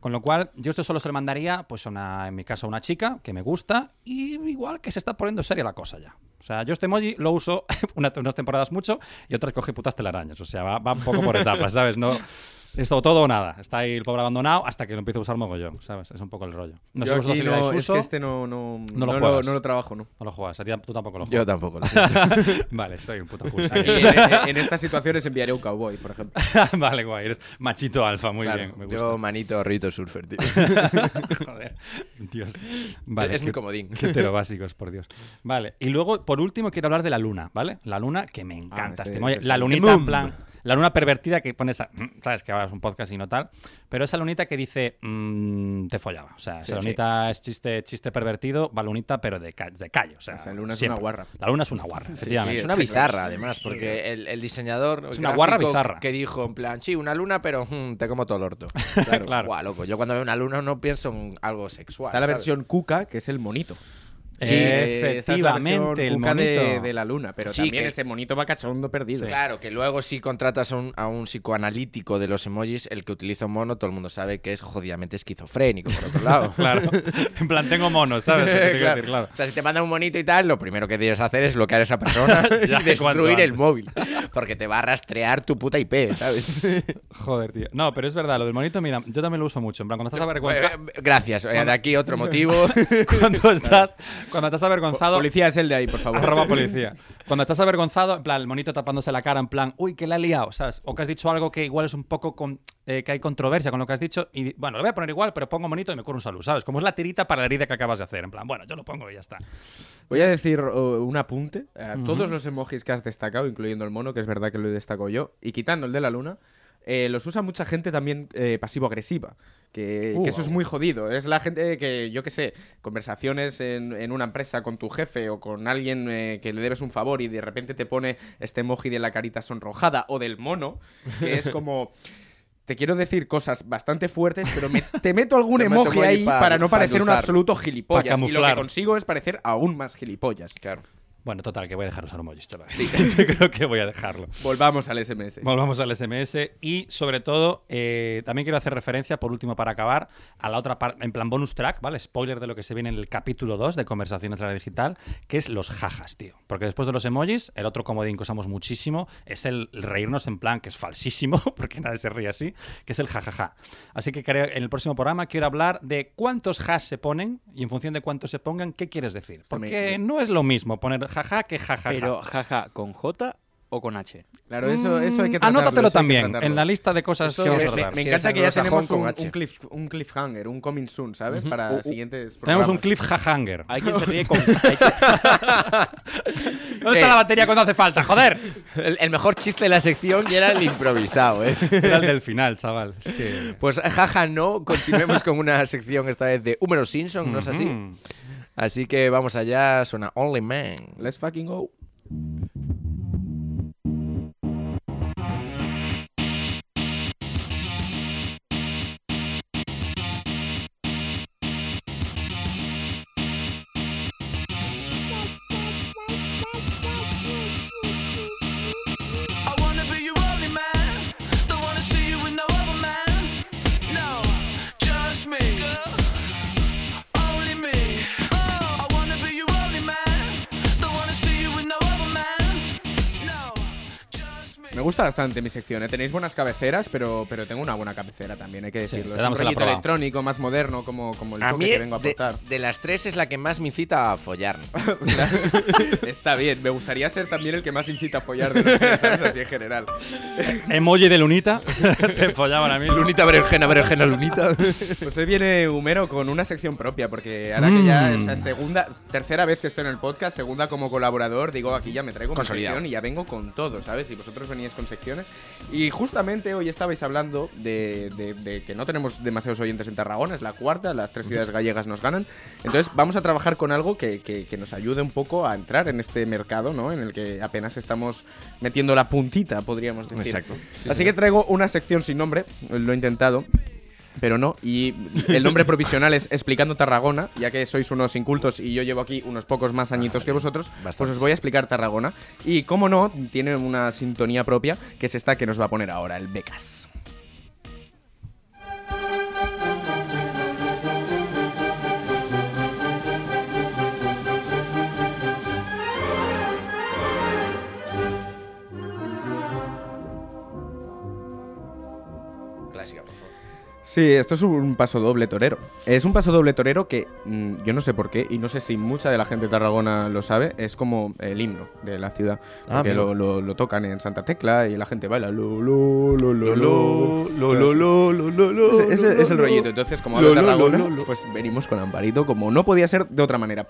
S3: Con lo cual, yo esto solo se lo mandaría, pues a una, en mi caso, a una chica que me gusta y igual que se está poniendo seria la cosa ya. O sea, yo este emoji lo uso una- unas temporadas mucho y otras cogí putas telarañas. O sea, va, va un poco por etapas, ¿sabes? No, es o todo o nada. Está ahí el pobre abandonado hasta que lo empiezo a usar mogollón, ¿sabes? Es un poco el rollo. No
S2: No,
S3: sé
S2: Yo
S3: vosotros
S2: aquí
S3: si le dais
S2: no, es
S3: uso.
S2: que este no, no,
S3: No lo
S2: no
S3: juegas.
S2: no lo trabajo, ¿no?
S3: No lo juegas, a ti tam- tú tampoco lo
S1: Yo
S3: juegas.
S1: tampoco. lo sé.
S3: vale, soy un puto cursi.
S2: Y en, en estas situaciones enviaré un cowboy, por ejemplo.
S3: vale, guay, eres machito alfa, muy
S1: Claro,
S3: bien. Me gusta.
S1: yo manito rito surfer, tío.
S3: Joder, Dios. Vale,
S1: es mi
S3: que-
S1: comodín.
S3: Qué heterobásicos, por Dios. Vale, y luego, por último, quiero hablar de la luna, ¿vale? La luna que me encanta.
S2: Ah, ese-
S3: este molle.
S2: ese
S3: la
S2: está-
S3: lunita, en plan. La luna pervertida que pone esa. Sabes que ahora es un podcast y no tal. Pero esa lunita que dice. mm, te follaba. O sea,
S1: Sí,
S3: esa
S1: sí.
S3: lunita es chiste, chiste pervertido, va lunita, pero de, ca- de callo. O sea,
S2: Esa luna es
S3: siempre.
S2: una guarra.
S3: La luna es una guarra, efectivamente.
S1: es una bizarra, además, porque el, el diseñador.
S3: Es una guarra
S1: gráfico
S3: bizarra.
S1: Que dijo, en plan, sí, una luna, pero mm, te como todo el orto. Claro.
S3: Claro.
S1: Guau, loco. Yo cuando veo una luna no pienso en algo sexual.
S2: Está la
S1: ¿sabes?
S2: versión cuca, que es el monito.
S3: Sí,
S2: Eh, esa es la versión
S3: efectivamente, el
S2: cuca de-
S3: monito.
S2: De, la luna, pero
S1: Sí,
S2: también
S1: que-
S2: ese monito va cachondo perdido.
S1: Claro, que luego si contratas a un, a un psicoanalítico de los emojis, el que utiliza un mono, todo el mundo sabe que es jodidamente esquizofrénico, por otro lado.
S3: Claro. En plan, tengo monos, ¿sabes? Lo que te quiero
S1: Claro.
S3: decir, claro.
S1: O sea, si te manda un monito y tal, lo primero que tienes que hacer es bloquear a esa persona y
S3: Ya, cuanto
S1: destruir
S3: antes.
S1: el móvil. Porque te va a rastrear tu puta IP, ¿sabes?
S3: Joder, tío. No, pero es verdad, lo del monito, mira, yo también lo uso mucho. En plan, cuando estás
S1: Eh,
S3: avergonzado.
S1: Gracias. Eh, De aquí otro motivo.
S3: cuando estás. Cuando estás
S2: Po-
S3: avergonzado.
S2: Policía es el de ahí, por favor.
S3: Arroba policía. Cuando estás avergonzado, en plan, el monito tapándose la cara, en plan, uy, que la he liado, ¿sabes? O que has dicho algo que igual es un poco con, eh, que hay controversia con lo que has dicho. Y bueno, lo voy a poner igual, pero pongo monito y me curo un salud, ¿sabes? Como es la tirita para la herida que acabas de hacer. En plan, bueno, yo lo pongo y ya está.
S2: Voy a decir uh, un apunte. A Todos los emojis que has destacado, incluyendo el mono, que es verdad que lo destaco yo, y quitando el de la luna, eh, los usa mucha gente también eh, pasivo-agresiva. Que,
S3: Uh,
S2: que eso es
S3: wow.
S2: muy jodido. Es la gente que, yo qué sé, conversaciones en, en una empresa con tu jefe o con alguien eh, que le debes un favor y de repente te pone este emoji de la carita sonrojada o del mono, que es como... Te quiero decir cosas bastante fuertes, pero me- te meto algún
S1: Te meto
S2: emoji
S1: emoji
S2: ahí
S1: pa-
S2: para no
S1: pa
S2: parecer un
S1: endulzar.
S2: absoluto gilipollas.
S3: Pa'
S2: Y lo que
S3: camuflar.
S2: consigo es parecer aún más gilipollas.
S1: Claro.
S3: Bueno, total, que voy a dejar usar emojis, chaval. yo creo que voy a dejarlo.
S2: Volvamos al SMS.
S3: Volvamos al SMS y sobre todo eh, también quiero hacer referencia, por último, para acabar, a la otra parte, en plan bonus track, ¿vale? Spoiler de lo que se viene en el capítulo 2 de Conversaciones de la Digital, que es los jajas, tío. Porque después de los emojis, el otro comodín que usamos muchísimo es el reírnos en plan, que es falsísimo, porque nadie se ríe así, que es el jajaja. Así que creo, en el próximo programa quiero hablar de cuántos jas se ponen y en función de cuántos se pongan, ¿qué quieres decir? Porque no es lo mismo poner jaja que jajaja.
S4: Pero jaja, ¿con J o con H?
S2: Claro, eso, eso hay que
S3: Mm,
S2: tratarlo,
S3: Anótatelo
S2: eso hay que
S3: también
S2: tratarlo.
S3: en la lista de cosas
S2: Eso
S3: que vamos a
S2: es- me,
S3: tratar.
S2: me
S1: Sí,
S2: encanta
S1: es
S2: que ya
S1: anglosajón
S2: tenemos
S1: con
S2: un,
S1: H.
S2: un cliff, un cliffhanger, un coming soon, ¿sabes? Para siguientes
S3: Uh, Tenemos un
S2: programas.
S3: cliffhanger.
S2: Ah,
S4: Hay quien se ríe con... hay quien-
S3: ¿Dónde está la batería cuando hace falta? ¡Joder!
S1: El, el mejor chiste de la sección y era el improvisado, ¿eh?
S3: Era el del final, chaval. Es que...
S1: Pues jaja, no. Continuemos con una sección esta vez de Húmero Simpson, ¿no es así?
S3: Mm.
S1: Así que vamos allá, suena Only Man.
S2: Let's fucking go.
S6: I wanna be your only man. Don't wanna see you with no other man. No, just me, girl. Only me.
S2: gusta bastante mi sección. ¿eh? Tenéis buenas cabeceras, pero, pero tengo una buena cabecera también, hay que
S3: Sí, le
S2: decirlo. es un
S3: damos a la
S2: rollito
S3: prueba.
S2: electrónico más moderno, como, como el
S1: A
S2: toque
S1: mí,
S2: que vengo a
S1: de,
S2: aportar.
S1: de las tres, es la que más me incita a follar.
S2: Está bien, me gustaría ser también el que más incita a follar de los tres, ¿sabes? así en general.
S3: Emoji de Lunita. Te follaba a mí.
S1: lunita, berenjena, berenjena, lunita.
S2: Pues hoy viene Humero con una sección propia, porque ahora que ya es la
S3: Mm.
S2: segunda, tercera vez que estoy en el podcast, segunda como colaborador, digo, aquí ya me traigo mi
S1: Consolidado.
S2: sección y ya vengo con todo, ¿sabes? Y vosotros veníais con secciones. Y justamente hoy estabais hablando de, de- de que no tenemos demasiados oyentes en Tarragona, es la cuarta, las tres ciudades gallegas nos ganan. Entonces vamos a trabajar con algo que, que- que nos ayude un poco a entrar en este mercado, ¿no? En el que apenas estamos metiendo la puntita, podríamos decir.
S1: Exacto. Sí,
S2: Así
S1: sí.
S2: que traigo una sección sin nombre, lo he intentado, pero no. Y el nombre provisional es Explicando Tarragona, ya que sois unos incultos y yo llevo aquí unos pocos más añitos que vosotros, pues
S1: bastante.
S2: os voy a explicar Tarragona. Y como no, tiene una sintonía propia, que es esta que nos va a poner ahora, el Becas.
S1: Clásica, por favor.
S2: Sí, esto es un paso doble torero. Es un paso doble torero que mm, yo no sé por qué y no sé si mucha de la gente de Tarragona lo sabe. Es como el himno de la ciudad.
S1: Ah,
S2: Porque
S1: amigo.
S2: lo, lo- lo tocan en Santa Tecla y la gente baila. Lo, lo, lo,
S1: Lo,
S2: lo,
S1: lo, lo, lo, lo, lo, lo,
S2: Ese- ese
S1: lo,
S2: es el
S1: lo.
S2: rollito. Entonces, como
S1: Lo,
S2: hablo de
S1: lo, lo,
S2: Tarragona,
S1: lo, lo.
S2: pues venimos con Amparito, como no podía ser de otra manera.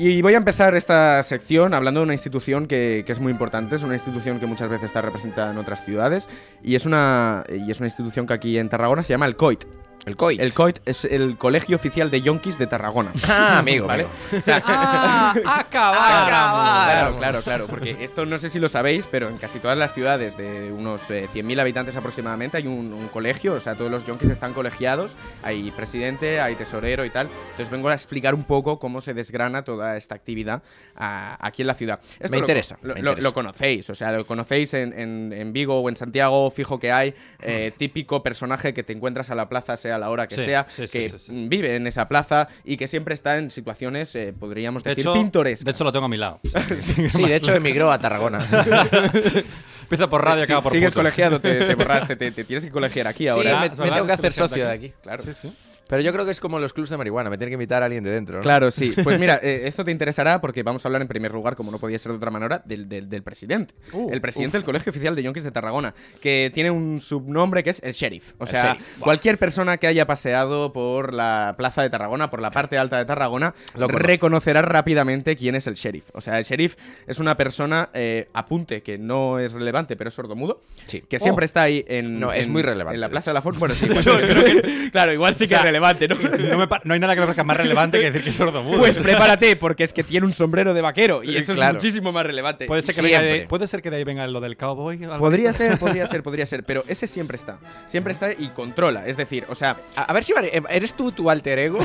S2: Y voy a empezar esta sección hablando de una institución que, que es muy importante, es una institución que muchas veces está representada en otras ciudades y es una, y es una institución que aquí en Tarragona se llama el COIT.
S1: El COI.
S2: El COIT es el Colegio Oficial de Yonkis de Tarragona.
S1: Ah, amigo,
S2: ¿Vale?
S1: amigo.
S3: ¡Ah! ¡Acabar!
S2: Claro, claro, claro, porque esto no sé si lo sabéis, pero en casi todas las ciudades de unos eh, 100.000 habitantes aproximadamente hay un, un colegio, o sea, todos los yonkis están colegiados, hay presidente, hay tesorero y tal. Entonces vengo a explicar un poco cómo se desgrana toda esta actividad ah, aquí en la ciudad. Esto
S1: Me
S2: lo-
S1: interesa,
S2: Lo,
S1: me
S2: lo-
S1: interesa.
S2: lo conocéis, o sea, lo conocéis en, en- en Vigo o en Santiago, fijo que hay, eh, típico personaje que te encuentras a la plaza, sea a la hora que
S3: Hmm. Sí,
S2: sea,
S3: sí, sí,
S2: que
S3: sí, sí.
S2: mm, vive en esa plaza y que siempre está en situaciones, eh, podríamos
S3: De
S2: decir,
S3: hecho,
S2: pintorescas.
S3: de hecho, lo tengo a mi lado.
S1: Sí, de hecho emigró a Tarragona.
S3: Empieza por radio,
S2: Si-
S3: acaba por
S2: Sigues
S3: puto.
S2: colegiado, te, te borraste, te, te tienes que colegiar aquí
S1: Sí,
S2: ahora.
S1: me,
S3: es
S1: me
S3: verdad,
S1: tengo que
S3: es
S1: hacer
S3: que está
S1: socio de
S3: aquí.
S1: aquí, claro.
S3: Sí, sí.
S1: Pero yo creo que es como los clubs de marihuana, me tiene que invitar a alguien de dentro. ¿no?
S2: Claro, sí. Pues mira, eh, esto te interesará porque vamos a hablar en primer lugar, como no podía ser de otra manera, del, del- del presidente.
S3: Uh,
S2: el presidente del Colegio Oficial de Yonkis de Tarragona, que tiene un subnombre que es el sheriff. O
S1: El
S2: sea,
S1: sheriff.
S2: cualquier persona que haya paseado por la plaza de Tarragona, por la parte alta de Tarragona,
S1: Lo conoce.
S2: reconocerá rápidamente quién es el sheriff. O sea, el sheriff es una persona, eh, apunte, que no es relevante, pero es sordomudo,
S1: Sí.
S2: que siempre está ahí en,
S1: Oh. No, es
S2: en-
S1: muy relevante,
S2: en la
S1: de
S2: plaza de la Ford. Bueno, sí, claro,
S3: Oh,
S2: igual sí que es relevante, ¿no?
S3: No, me pa- no hay nada que me parezca más relevante que decir que es sordo mudo.
S2: Pues prepárate, porque es que tiene un sombrero de vaquero y
S1: Eh,
S2: eso
S1: claro.
S2: es muchísimo más relevante. eh,
S3: puede, ser que
S1: siempre.
S3: venga de, puede ser que de ahí venga lo del cowboy. o algo.
S2: Pues Podría ser, podría ser, podría ser, pero ese siempre está. Siempre está y controla. Es decir, o sea,
S1: A, a ver si vale, eh, eres tú tu alter ego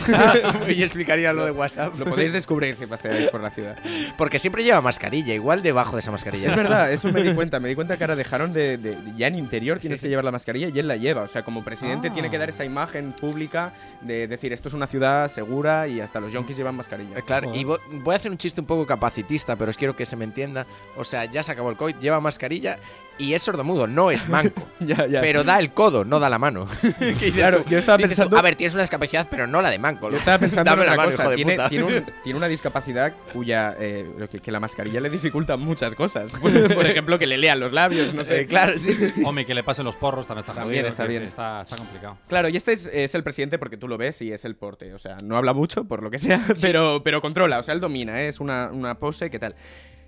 S1: y explicaría lo de WhatsApp.
S2: lo podéis descubrir si paseáis por la ciudad.
S1: Porque siempre lleva mascarilla, igual debajo de esa mascarilla.
S2: Es verdad, eso me di cuenta. Me di cuenta que ahora dejaron de, de- de- ya en interior tienes que llevar la mascarilla y él la lleva. O sea, como presidente
S3: Ah.
S2: tiene que dar esa imagen pública de decir esto es una ciudad segura y hasta los yonkis llevan mascarilla.
S1: Eh, Claro, y vo- voy a hacer un chiste un poco capacitista, pero os quiero que se me entienda. O sea, ya se acabó el COVID, lleva mascarilla y es sordomudo, no es manco.
S2: Ya, ya.
S1: Pero da el codo, no da la mano.
S2: claro, yo estaba
S1: Dices tú,
S2: pensando.
S1: a ver, tienes una discapacidad, pero no la de manco.
S2: Yo estaba pensando
S1: Dame
S2: en
S1: la
S2: otra
S1: mano,
S2: cosa.
S1: hijo de
S2: tiene,
S1: puta.
S2: tiene un- tiene una discapacidad cuya eh, lo que, que la mascarilla le dificulta muchas cosas. Por, por ejemplo, que le lean los labios, no sé.
S1: Eh, claro, sí, sí, sí.
S3: Hombre, que le pasen los porros también está
S2: También
S3: jodido,
S2: está
S3: que-
S2: bien.
S3: que Está, está complicado.
S2: Claro, y este es, es el presidente porque tú lo ves y es el porte. O sea, no habla mucho, por lo que sea, pero, pero controla. O sea, él domina, ¿eh? es una, una pose, ¿qué tal?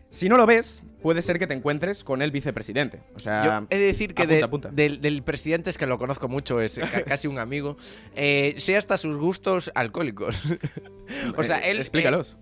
S2: Si no lo ves, puede ser que te encuentres con el vicepresidente. O sea,
S1: Yo eh, he de decir que
S2: apunta,
S1: de-
S2: Ah, apunta.
S1: Del, del presidente es que lo conozco mucho, es ca- casi un amigo. eh, sé hasta sus gustos alcohólicos. o sea,
S2: Eh,
S1: él.
S2: Explícalos.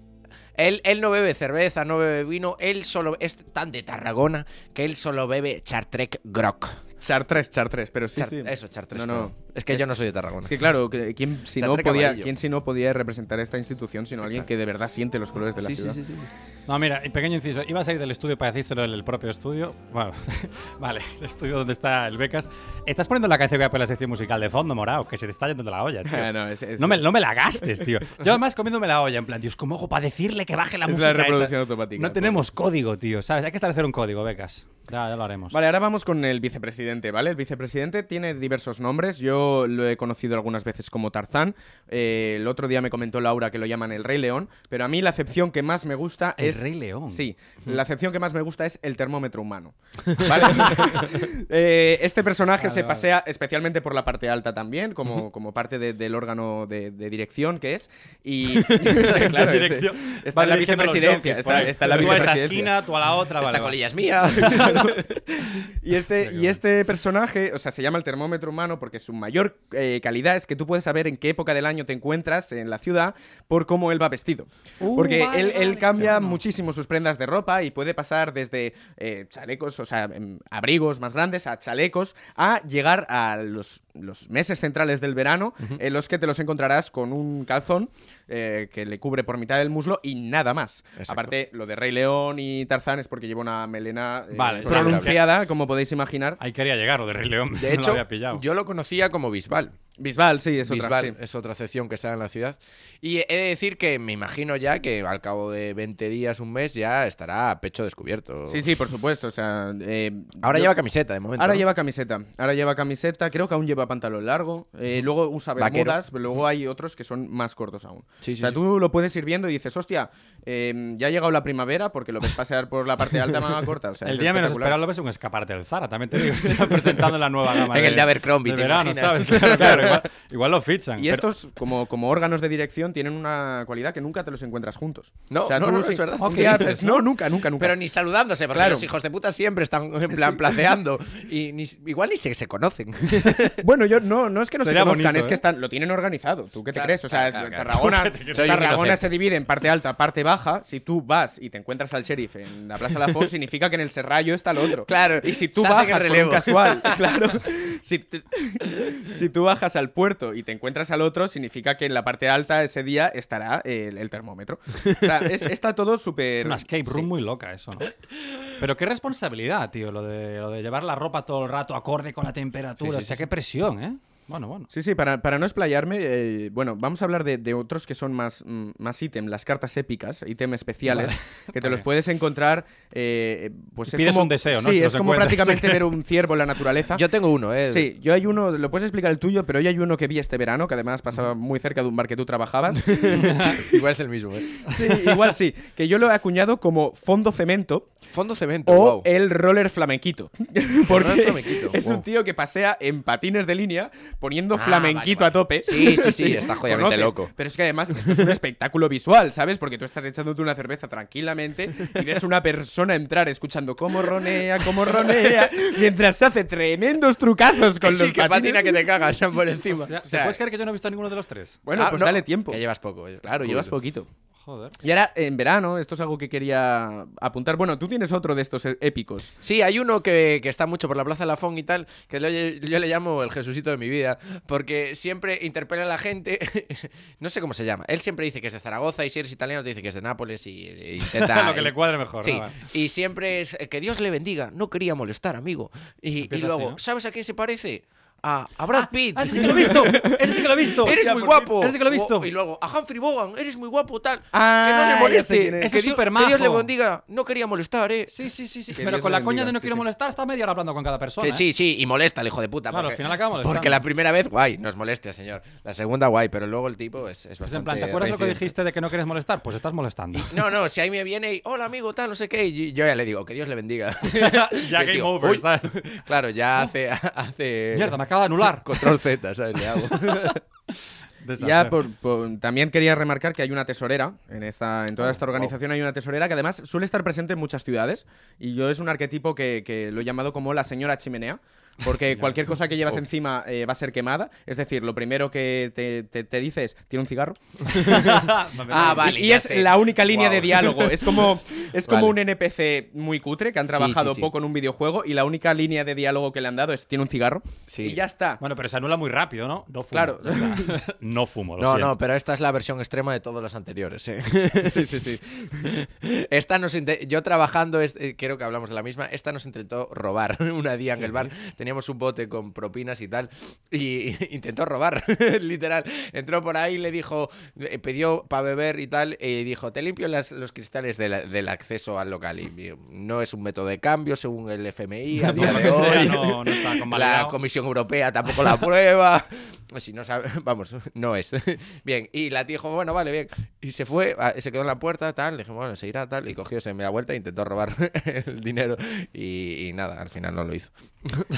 S1: Él, él no bebe cerveza, no bebe vino, él solo es tan de Tarragona que él solo bebe Chartrec Grog.
S2: Chartres, Chartres, pero sí,
S1: Char-
S2: sí.
S1: Eso, Chartrec.
S2: No, no.
S1: perdón. Es que yo no soy de Tarragona.
S2: Es que claro, que- ¿quién si, no
S1: Chartres
S2: podía,
S1: Camarillo.
S2: ¿quién si no podía representar esta institución sino alguien que de verdad siente los colores de la ciudad?
S3: No, mira, y pequeño inciso. Iba a salir del estudio para decírselo en el propio estudio. Bueno, vale, el estudio donde está el Becas. Estás poniendo la canción que voy a poner en la sección musical de fondo, morado, que se te está yendo de la olla, tío.
S2: Ah, no, es- es-
S3: No me, no me la gastes, tío. Yo además comiéndome la olla, en plan, Dios, ¿cómo hago para decirle que baje la
S2: Es la
S3: música? esa?
S2: reproducción automática,
S3: No
S2: pobre.
S3: tenemos código, tío, ¿sabes? Hay que establecer un código, Becas. Ya, ya lo haremos.
S2: Vale, ahora vamos con el vicepresidente, ¿vale? El vicepresidente tiene diversos nombres. Yo lo he conocido algunas veces como Tarzán. Eh, el otro día me comentó Laura que lo llaman el Rey León. Pero a mí la acepción que más me gusta
S3: El
S2: es.
S3: Rey León.
S2: Sí. La acepción que más me gusta es el termómetro humano. ¿Vale? Eh, este personaje se pasea especialmente por la parte alta también, como, como parte de- del órgano de, de dirección que es. Y. claro, es-
S4: Dirección.
S2: está
S4: Va
S2: en la
S4: dirigiendo los
S2: vicepresidencia.
S4: jockeys por
S2: Está,
S4: ahí.
S2: está en la
S3: tú a esa
S2: vicepresidencia.
S3: esquina, tú a la otra.
S1: Esta
S3: vale, vale.
S1: colilla es mía.
S2: Y este, y este personaje, o sea, se llama el termómetro humano porque su mayor eh, calidad es que tú puedes saber en qué época del año te encuentras en la ciudad por cómo él va vestido. porque él, él cambia muchísimo sus prendas de ropa y puede pasar desde eh, chalecos, o sea, em, abrigos más grandes a chalecos, a llegar a los, los meses centrales del verano en los que te los encontrarás con un calzón eh, que le cubre por mitad del muslo y nada más.
S1: Exacto.
S2: Aparte, lo de Rey León y Tarzán es porque lleva una melena eh,
S3: Vale,
S2: pronunciada pronunciada, como podéis imaginar.
S3: Ahí quería llegar, lo de Rey León.
S1: De
S3: no lo
S1: hecho,
S3: había pillado.
S1: yo lo conocía como Bisbal.
S2: Bisbal, sí, es otra.
S1: Bisbal es otra sección que está en la ciudad. Y he de decir que me imagino ya que al cabo de 20 días, un mes, ya estará a pecho descubierto.
S2: Sí. sí, sí, por supuesto. O sea, eh,
S1: Ahora
S2: yo-
S1: lleva camiseta, de momento.
S2: Ahora
S1: ¿no?
S2: lleva camiseta. Ahora lleva camiseta. Creo que aún lleva pantalón largo. eh, luego usa
S1: Vaquero.
S2: bermudas. pero Luego hay otros que son más cortos aún.
S1: Sí, sí,
S2: o sea,
S1: sí.
S2: tú lo puedes ir viendo y dices, hostia, eh, ya ha llegado la primavera porque lo ves pasear por la parte alta más corta. O sea,
S3: el
S2: es
S3: día menos
S2: espectacular.
S3: esperado lo ves en un escaparate del Zara, también te digo. Se está presentando la nueva gama.
S1: En el de Abercrombie,
S3: de
S1: ¿te
S3: verano,
S1: imaginas?
S3: ¿sabes? Claro, claro, igual, igual lo fichan.
S2: Y
S3: pero-
S2: estos, como, como órganos de dirección, tienen una cualidad que nunca te los encuentras juntos.
S1: No,
S2: O sea,
S1: no,
S2: tú
S1: no, no,
S2: sí-
S1: es verdad.
S2: un
S1: Ok.
S2: día haces, no, nunca, nunca, nunca.
S1: Pero ni saludándose, porque
S2: Claro.
S1: los hijos de puta siempre están en plan placeando. Y ni- igual ni se, se conocen.
S2: Bueno, yo no, no es que no
S3: Sería
S2: se conozcan,
S3: bonito,
S2: es que
S3: ¿eh?
S2: están, lo tienen organizado. ¿Tú qué te
S1: Claro,
S2: crees? O sea,
S1: claro, claro, claro.
S2: Tarragona,
S1: Soy un
S2: Tarragona
S1: inocente.
S2: se divide en parte alta, parte baja. Si tú vas y te encuentras al sheriff en la Plaza Lafon, significa que en el Serrallo está el otro.
S1: Claro,
S2: Y si tú
S1: se hacen el
S2: bajas por un
S1: relevo.
S2: casual, claro. Si, te- si tú bajas al puerto y te encuentras al otro, significa que en la parte alta ese día estará el, el termómetro. O sea, es- está todo súper.
S3: Es una escape room
S2: Sí.
S3: muy loca eso, ¿no? Pero qué responsabilidad, tío, lo de, lo de llevar la ropa todo el rato acorde con la temperatura.
S1: Sí, sí,
S3: o sea,
S1: sí,
S3: qué presión, ¿eh? Bueno, bueno.
S2: Sí, sí, para, para no explayarme, eh, bueno, vamos a hablar de, de otros que son más, mm, más ítem, las cartas épicas, ítem especiales, que te los puedes encontrar, eh, pues es
S3: Pides
S2: como,
S3: un deseo, ¿no?
S2: Sí,
S3: Si los
S2: es como
S3: encuentras.
S2: prácticamente ver un ciervo en la naturaleza.
S1: Yo tengo uno, ¿eh?
S2: Sí, yo hay uno, lo puedes explicar el tuyo, pero yo hay uno que vi este verano, que además pasaba muy cerca de un bar que tú trabajabas.
S1: Igual es el mismo, ¿eh?
S2: Sí, igual sí, que yo lo he acuñado como fondo cemento,
S1: Fondo cemento.
S2: o
S1: wow.
S2: el roller flamenquito. Porque
S1: Roller flamenquito,
S2: es
S1: wow.
S2: un tío que pasea en patines de línea poniendo
S1: Ah,
S2: flamenquito
S1: vale, vale.
S2: a tope.
S1: Sí, sí, sí, está jodidamente
S2: ¿Conoces?
S1: loco.
S2: Pero es que además esto es un espectáculo visual, ¿sabes? Porque tú estás echándote una cerveza tranquilamente y ves una persona entrar escuchando cómo ronea, cómo ronea, mientras se hace tremendos trucazos con los
S1: sí, que
S2: patines.
S1: patina que te cagas por encima.
S3: Hostia, ¿te
S2: sea,
S3: puedes creer que yo no he visto a ninguno de los tres?
S2: Bueno,
S1: Ah,
S2: pues
S1: no,
S2: dale tiempo.
S1: Que llevas poco. eh.
S2: Claro, llevas
S1: Culo.
S2: poquito.
S3: Joder.
S2: Y ahora, en verano, esto es algo que quería apuntar. Bueno, tú tienes otro de estos eh, épicos.
S1: Sí, hay uno que, que está mucho por la Plaza Lafón y tal, que lo- yo le llamo el Jesucito de mi vida, porque siempre interpela a la gente, no sé cómo se llama, él siempre dice que es de Zaragoza y si eres italiano te dice que es de Nápoles y e intenta...
S3: Lo que le cuadre mejor,
S1: Sí,
S3: ¿no? Vale.
S1: y siempre es eh, que Dios le bendiga, no quería molestar, amigo. Y- Y,
S3: Empieza así,
S1: luego,
S3: ¿no?
S1: ¿sabes a quién se parece? A, a Brad Pitt.
S3: Ah, ¡Ese sí que lo he visto! ¡Ese sí que lo he visto!
S1: Eres muy guapo.
S3: ¡Ese sí que lo he visto!
S1: O- y luego, a Humphrey Bogan, eres muy guapo, tal.
S2: Ah,
S1: que no
S2: ya
S1: le
S2: sé
S1: moleste.
S2: quién es.
S1: Que
S3: Ese es
S1: Dios-
S3: supermajo.
S1: Que Dios le bendiga. No quería molestar, eh.
S3: Sí, sí, sí, sí.
S2: Que
S3: Pero
S2: Dios
S3: con
S2: lo
S3: la coña
S2: bendiga,
S3: de no
S2: sí,
S3: quiero
S2: sí.
S3: molestar, está media hora hablando con cada persona.
S1: Que
S3: ¿eh?
S1: sí, sí, y molesta el hijo de puta.
S3: Claro, al
S1: porque,
S3: final acaba molestando.
S1: Porque la primera vez, guay, nos molesta, señor. La segunda, guay, pero luego el tipo es, es
S3: Es
S1: bastante.
S3: en plan, ¿te acuerdas lo que
S1: reincidente.
S3: dijiste de que no quieres molestar? Pues estás molestando.
S1: No, no, si ahí me viene y, hola amigo, tal, no sé qué, y yo ya le digo, que Dios le bendiga. Y el
S3: ya game
S1: tío,
S3: over,
S1: "Uy".
S3: ¿sabes?
S1: Claro, ya hace, hace.
S3: Mierda, me acaba de anular.
S1: Control Z, ¿sabes? Le hago.
S2: Ya por- por- también quería remarcar que hay una tesorera en esta en toda esta organización hay una tesorera que además suele estar presente en muchas ciudades y yo es un arquetipo que, que lo he llamado como la señora chimenea porque cualquier cosa que llevas encima eh, va a ser quemada es decir lo primero que te, te, te dice es tiene un cigarro
S1: ah, vale.
S2: y
S1: ya
S2: es
S1: sé.
S2: la única línea
S1: Guau.
S2: de diálogo es como es como
S1: Vale.
S2: un NPC muy cutre que han
S1: Sí,
S2: trabajado
S1: sí, sí.
S2: poco en un videojuego y la única línea de diálogo que le han dado es tiene un cigarro
S1: Sí.
S2: y ya está
S3: Bueno, pero se anula muy rápido, ¿no? No fumo.
S2: Claro.
S3: Ya está. no fumo, lo
S1: No,
S3: siento.
S1: no, pero esta es la versión extrema de todos los anteriores. ¿eh?
S2: sí sí sí
S1: Esta nos inte- yo trabajando, es- eh, creo que hablamos de la misma, esta nos intentó robar una día en el bar. teníamos un bote con propinas y tal, y intentó robar, literal. Entró por ahí, le dijo, eh, pidió para beber y tal, y dijo, te limpio las- los cristales de la- del acceso al local. Y digo, no es un método de cambio según el FMI. A
S3: Por
S1: día
S3: lo
S1: de
S3: que sea,
S1: hoy.
S3: no, no está
S1: La
S3: convalidado.
S1: Comisión Europea tampoco la aprueba. Si no sabe, vamos, no es. Bien, y la tía dijo, bueno, vale, bien. Y se fue, a- se quedó en la puerta, tal. Le dije, bueno, se irá, tal. Y cogió, se me da vuelta e intentó robar el dinero. Y, y nada, al final no lo hizo.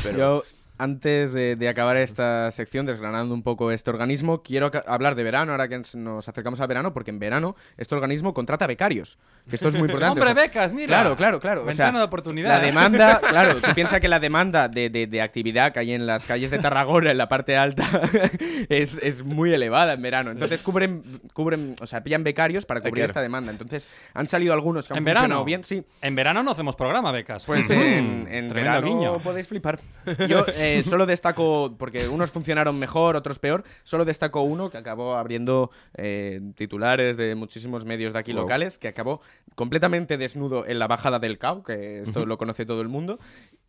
S1: Pero
S2: Yo, antes de, de acabar esta sección, desgranando un poco este organismo, quiero aca- hablar de verano, ahora que ens- nos acercamos al verano, porque en verano este organismo contrata becarios. Que esto es muy importante.
S3: Hombre,
S2: o sea,
S1: Pues
S3: becas, mira.
S2: Claro, claro, claro. o
S3: Ventana
S2: sea,
S3: de oportunidad. ¿eh?
S2: La demanda, claro, tú piensas que la demanda de, de- de actividad que hay en las calles de Tarragona, en la parte alta, es, es muy elevada en verano. Entonces cubren, cubren, o sea, pillan becarios para cubrir
S1: Claro.
S2: esta demanda. Entonces han salido algunos que han
S3: En
S2: funcionado
S3: verano.
S2: bien, sí.
S3: En verano no hacemos programa, becas. Mm.
S2: Pues en, en
S3: Tremendo
S2: verano
S3: guiño.
S2: podéis flipar. Yo eh, solo destaco, porque unos funcionaron mejor, otros peor, solo destaco uno que acabó abriendo eh, titulares de muchísimos medios de aquí
S1: Wow.
S2: locales, que acabó completamente desnudo en la bajada del CAO, que esto lo conoce todo el mundo.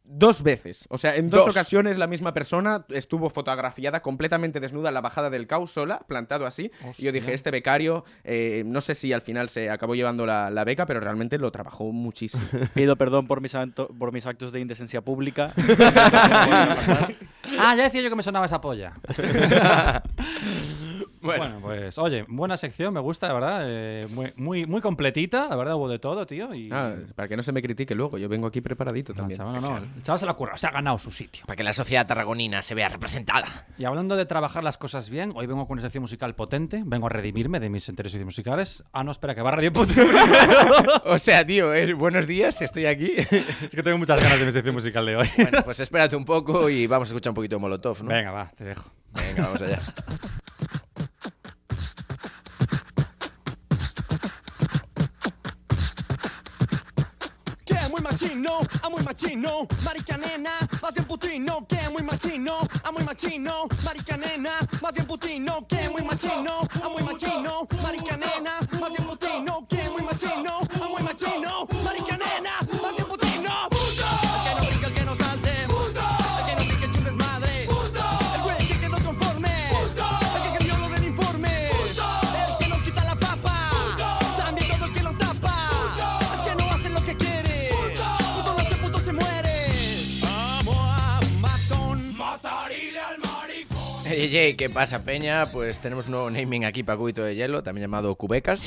S2: Dos veces, o sea, en dos,
S1: Dos.
S2: ocasiones la misma persona estuvo fotografiada completamente desnuda en la bajada del CAU sola, plantado así. Y yo dije, este becario, eh, no sé si al final se acabó llevando la, la beca, pero realmente lo trabajó muchísimo.
S4: Pido perdón por mis, acto- por mis actos de indecencia pública.
S3: Ah, ya decía yo que me sonaba esa polla. bueno. pues, oye, buena sección, me gusta, la verdad. eh, muy, muy, muy completita, la verdad, hubo de todo, tío. Y... mm.
S2: Ah, para que no se me critique luego, yo vengo aquí preparadito
S3: No,
S2: también.
S3: chaval, no, no, el chaval se la curra, se ha ganado su sitio.
S1: para que la sociedad tarragonina se vea representada.
S3: Y hablando de trabajar las cosas bien, hoy vengo con una sección musical potente, vengo a redimirme de mis intereses musicales. Ah, no, espera, que va Radio Potente.
S1: O sea, tío, eh, buenos días, estoy aquí.
S3: es que tengo muchas ganas de mi sección musical de hoy.
S1: Bueno, pues espérate un poco y vamos a escuchar un poquito de Molotov, ¿no?
S3: Venga, va, te dejo.
S1: Venga, vamos allá.
S6: Que muy machino, a muy machino, marica nena, más bien putino. Que muy machino, a muy machino, marica nena, más bien putino. Que muy machino, a muy machino, marica nena, más bien putino. Que muy machino, a muy machino, marica nena, más bien putino. Puto. El que no pica, el que no salte. Puto. El que no pique, es un desmadre. Puto. El güey que quedó conforme. Puto. El que cambió lo del informe. Puto. El que nos quita la papa. Puto. También todo el que nos tapa. El que no hace lo que quiere. Puto. no hace puto se muere. Vamos a matón. Matarile al maricón.
S1: Ey, ey, ey, ¿qué pasa, Peña? Pues tenemos un nuevo naming aquí para Cubito de Hielo, también llamado Cubecas.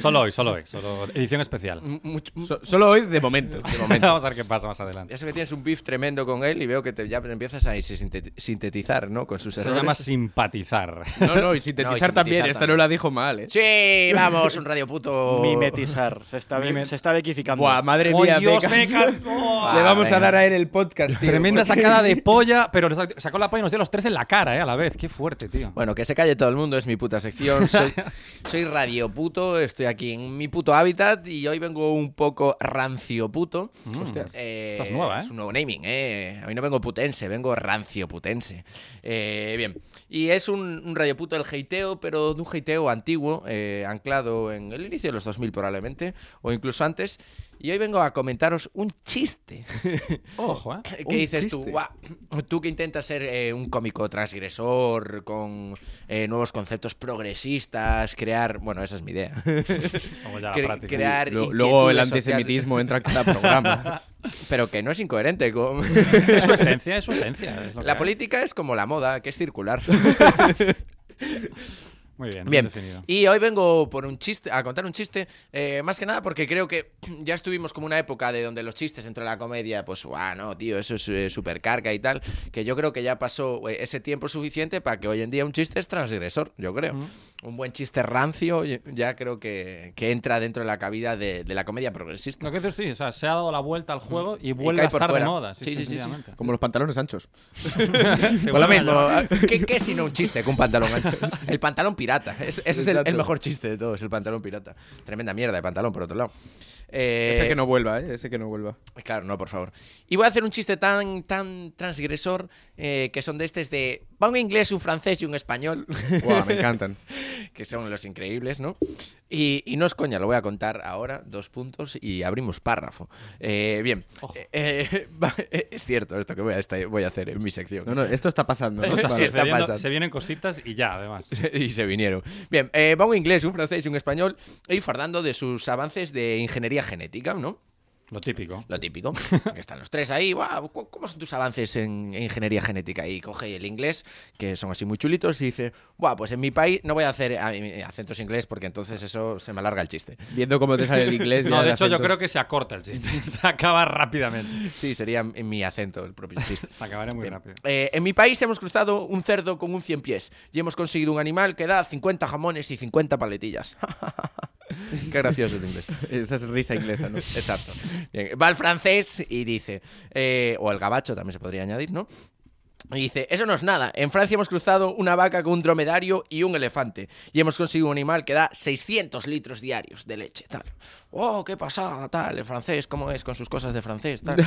S3: Solo hoy, solo hoy, solo edición especial.
S1: Mucho-
S2: So- solo hoy, de momento.
S3: Vamos a ver qué pasa más adelante.
S1: Ya sé que tienes un beef tremendo con él y veo que te, ya empiezas a sinte- sintetizar, ¿no? Con sus
S3: Se
S1: errores.
S3: llama simpatizar.
S2: No, no, y sintetizar,
S1: No, y sintetizar
S2: también, esta no
S1: también.
S2: la dijo mal, ¿eh?
S1: Sí, vamos, un radio puto.
S4: Mimetizar. Se está,
S3: Mimet-
S4: se está bequificando.
S2: Buah, madre mía, becas. Le vamos
S1: venga.
S2: a dar a él el podcast, tío.
S3: Ah, Tremenda
S2: porque-
S3: sacada de polla, pero nos sac- sacó la polla y nos dio los tres en la cara, eh, a la vez. Qué fuerte, tío.
S1: Bueno, que se calle todo el mundo, es mi puta sección. Soy, soy radio puto, estoy aquí en mi puto hábitat y hoy vengo un poco rancio puto.
S3: Hostias.
S1: Eh,
S3: Esta Mm, es nueva, ¿eh?
S1: un nuevo naming, ¿eh? A mí no vengo putense, vengo rancio putense. Eh, bien, y es un, un radio puto del heiteo, pero de un heiteo antiguo, eh, anclado en el inicio de los 2000 probablemente, o incluso antes. Y hoy vengo a comentaros un chiste.
S3: Ojo, eh.
S1: ¿Qué
S2: Un
S1: dices tú?
S2: chiste.
S1: Guau, tú que intentas ser eh, un cómico transgresor con eh, nuevos conceptos progresistas, crear. Bueno, esa es mi idea.
S3: Como ya la
S1: Cre-
S3: práctica.
S1: crear
S2: Lo- luego el
S1: inquietudes sociales.
S2: antisemitismo entra en cada programa.
S1: Pero que no es incoherente. con-
S3: Es su esencia, es su esencia. es lo
S1: La
S3: que
S1: política es como la moda, que es circular.
S3: hay. Muy bien, bien
S1: Bien,
S3: definido.
S1: y hoy vengo por un chiste, a contar un chiste, eh, más que nada porque creo que ya estuvimos como una época de donde los chistes entre la comedia, pues, guau, no, tío, eso es eh, supercarga y tal, que yo creo que ya pasó eh, ese tiempo suficiente para que hoy en día un chiste es transgresor, yo creo. Un buen chiste rancio y- ya creo que, que entra dentro de la cabida de, de la comedia progresista.
S3: Lo que dices tú, o sea, se ha dado la vuelta al juego y vuelve
S1: Mm. cae
S3: a
S1: por
S3: estar de
S1: fuera.
S3: moda. Sí,
S1: Sí, sí,
S3: sí,
S1: sí, sí.
S3: sencillamente.
S2: Como los pantalones anchos.
S3: Se
S1: Por lo
S3: vuelve a
S1: mismo, ah,
S3: llamar.
S1: ¿qué, qué si no un chiste con un pantalón ancho? El pantalón pirata. Es- ese es el, el
S2: Exacto.
S1: mejor chiste de todos, el pantalón pirata. Tremenda mierda de pantalón, por otro lado. Eh,
S2: Ese que no vuelva, ¿eh? Ese que no vuelva.
S1: Claro, no, por favor. Y voy a hacer un chiste tan, tan transgresor eh, que son de estos de Va un inglés, un francés y un español.
S2: Guau, me encantan.
S1: que son los increíbles, ¿no? Y, y no es coña, lo voy a contar ahora, dos puntos y abrimos párrafo. Eh, bien, Eh, va- eh, es cierto esto que voy a, esta- voy a hacer en mi sección.
S2: No, no, esto está pasando.
S1: Esto
S2: ¿no?
S1: está
S2: Vale.
S1: sí,
S3: se,
S1: está
S3: viendo-
S1: pasando.
S3: se vienen cositas y ya, además.
S1: y se vinieron. Bien, eh, va un inglés, un francés, un español, y fardando de sus avances de ingeniería genética, ¿no?
S3: Lo típico.
S1: Lo típico, que están los tres ahí. "Guau, ¿cu- ¿Cómo son tus avances en, en ingeniería genética? Y coge el inglés, que son así muy chulitos, y dice: Buah, pues en mi país no voy a hacer ah, eh, acentos inglés porque entonces eso se me alarga el chiste.
S2: Viendo cómo te sale el inglés.
S3: No,
S2: ya
S3: de
S2: el
S3: hecho, yo
S2: acento.
S3: creo que se acorta el chiste. Se acaba rápidamente.
S1: Sí, sería en mi acento el propio chiste.
S3: Se acabará muy
S1: Bien.
S3: rápido.
S1: Eh, en mi país hemos cruzado un cerdo con un cien pies y hemos conseguido un animal que da 50 jamones y 50 paletillas. Qué gracioso el inglés.
S2: Esa es risa inglesa, ¿no?
S1: Exacto. Bien, Va el francés y dice, eh, o el gabacho también se podría añadir, ¿no? Y dice, eso no es nada. En Francia hemos cruzado una vaca con un dromedario y un elefante. Y hemos conseguido un animal que da 600 litros diarios de leche, tal. ¡Oh, qué pasada, tal! El francés, ¿cómo es con sus cosas de francés, tal?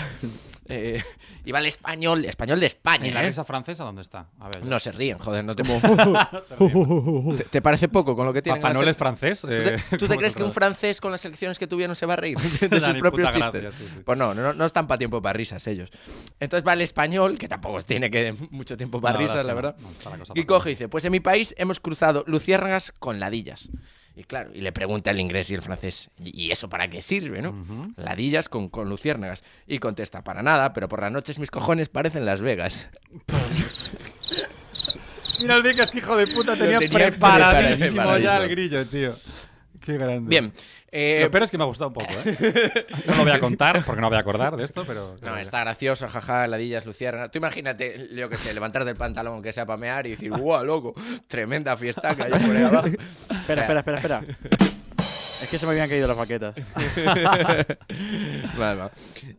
S1: Eh, y va el español, español de España,
S3: ¿Y la
S1: ¿eh?
S3: risa francesa dónde está? A ver.
S1: No se ríen, joder, no te... ¿Te, te parece poco con lo que tiene
S3: ¿Papá Noel es francés?
S1: ¿Tú
S3: Eh,
S1: te, tú te
S3: ¿cómo
S1: crees
S3: se
S1: que un
S3: traduce?
S1: francés con las elecciones que tuvieron se va a reír de
S3: Da
S1: sus
S3: ni
S1: propios
S3: puta
S1: chistes?
S3: gracia, sí, sí.
S1: Pues no, no, no están para tiempo para risas ellos. Entonces va el español, que tampoco tiene que mucho tiempo para
S3: No, la
S1: risas, la
S3: verdad
S1: verdad.
S3: es que no, no está la cosa
S1: y
S3: tan
S1: coge y dice, pues en mi país hemos cruzado luciérnagas con ladillas. Y claro, y le pregunta el inglés y el francés, ¿y y eso para qué sirve, no? Ladillas con, con luciérnagas. Y contesta, para nada, pero por las noches mis cojones parecen Las Vegas.
S3: Mira el Vicas, que hijo de puta, tenía,
S1: tenía
S3: preparadísimo ya
S1: preparadísimo.
S3: el grillo, tío. Qué grande.
S1: Bien. eh,
S3: Lo peor es que me ha gustado un poco, ¿eh? No lo voy a contar porque no voy a acordar de esto, pero.
S1: No, está gracioso, jaja, ladillas, luciernas. Tú imagínate, yo qué sé, levantarte el pantalón que sea para mear y decir, ¡guau, loco! Tremenda fiesta que hay por ahí abajo.
S4: Espera, espera, espera, espera. Es que se me habían caído las baquetas.
S1: Vale, va.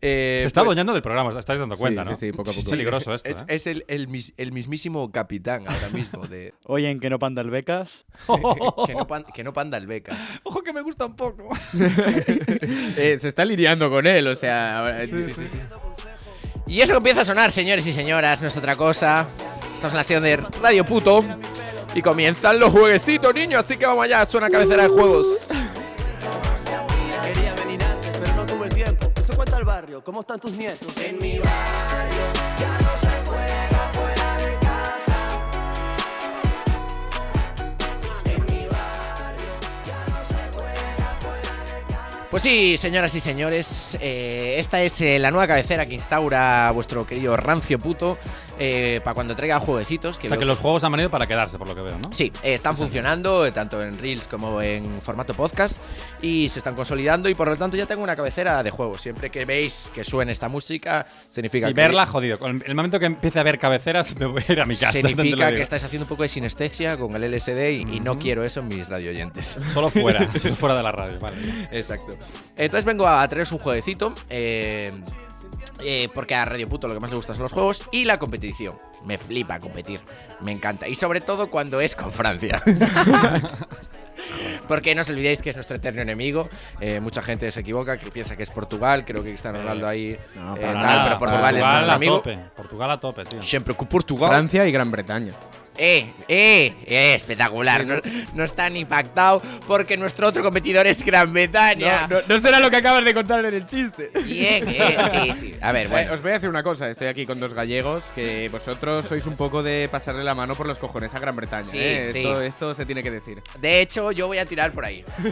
S1: Eh,
S3: Se está
S1: pues,
S3: adueñando del programa, os estáis dando cuenta,
S2: sí,
S3: ¿no?
S2: sí, poco a
S3: Es
S2: poco.
S3: peligroso esto.
S1: Es,
S3: ¿eh?
S1: es el, el mis- el mismísimo capitán ahora mismo de
S4: Oye, en que no panda el becas.
S1: que, no pan- que no panda el beca.
S3: Ojo que me gusta un poco.
S2: Eh, se está lidiando con él, o sea. ahora-
S1: Y eso que empieza a sonar, señores y señoras, no es otra cosa. Estamos en la sesión de Radio Puto. Y comienzan los jueguecitos, niños, así que vamos allá, suena cabecera de juegos.
S7: Quería venir antes, pero no tuve tiempo. Eso cuenta el barrio, ¿cómo están tus nietos? En mi barrio ya no se juega fuera de casa. En mi barrio ya no se juega fuera de casa.
S1: Pues sí, señoras y señores, eh, esta es eh, la nueva cabecera que instaura vuestro querido Rancio Puto para cuando traiga jueguecitos. Que
S3: O sea
S1: veo
S3: que los juegos han venido para quedarse, por lo que veo, ¿no?
S1: Sí, eh, están funcionando eh, tanto en Reels como en formato podcast y se están consolidando y por lo tanto ya tengo una cabecera de juegos. Siempre que veis que suene esta música, significa
S3: Y
S1: que...
S3: verla, jodido. Con El el momento que empiece a ver cabeceras, me voy a ir a mi casa. también te lo
S1: Significa
S3: digo.
S1: que estáis haciendo un poco de sinestesia con el LSD y, y no quiero eso en mis radio oyentes.
S3: Solo fuera, solo fuera de la radio, vale.
S1: Exacto. Entonces vengo a traeros un jueguecito. eh, eh, porque a Radio Puto lo que más le gusta son los juegos y la competición. Me flipa competir. Me encanta. Y sobre todo cuando es con Francia. Porque no os olvidéis que es nuestro eterno enemigo. Eh, mucha gente se equivoca, que piensa que es Portugal. Creo que Cristiano Ronaldo ahí. eh,
S3: Para
S1: tal,
S3: nada,
S1: pero Portugal, es nuestro
S3: a
S1: amigo.
S3: tope. Portugal a tope, tío.
S1: Siempre con Portugal.
S2: Francia y Gran Bretaña.
S1: Eh, eh, eh, espectacular. No, no está ni pactado porque nuestro otro competidor es Gran Bretaña.
S2: será lo que acabas de contar en el chiste.
S1: Bien, eh, sí, sí. A ver,
S2: Eh,
S1: bueno.
S2: os voy a decir una cosa, estoy aquí con dos gallegos que vosotros sois un poco de pasarle la mano por los cojones a Gran Bretaña.
S1: Sí,
S2: eh.
S1: sí.
S2: Esto, esto se tiene que decir.
S1: De hecho, yo voy a tirar por ahí.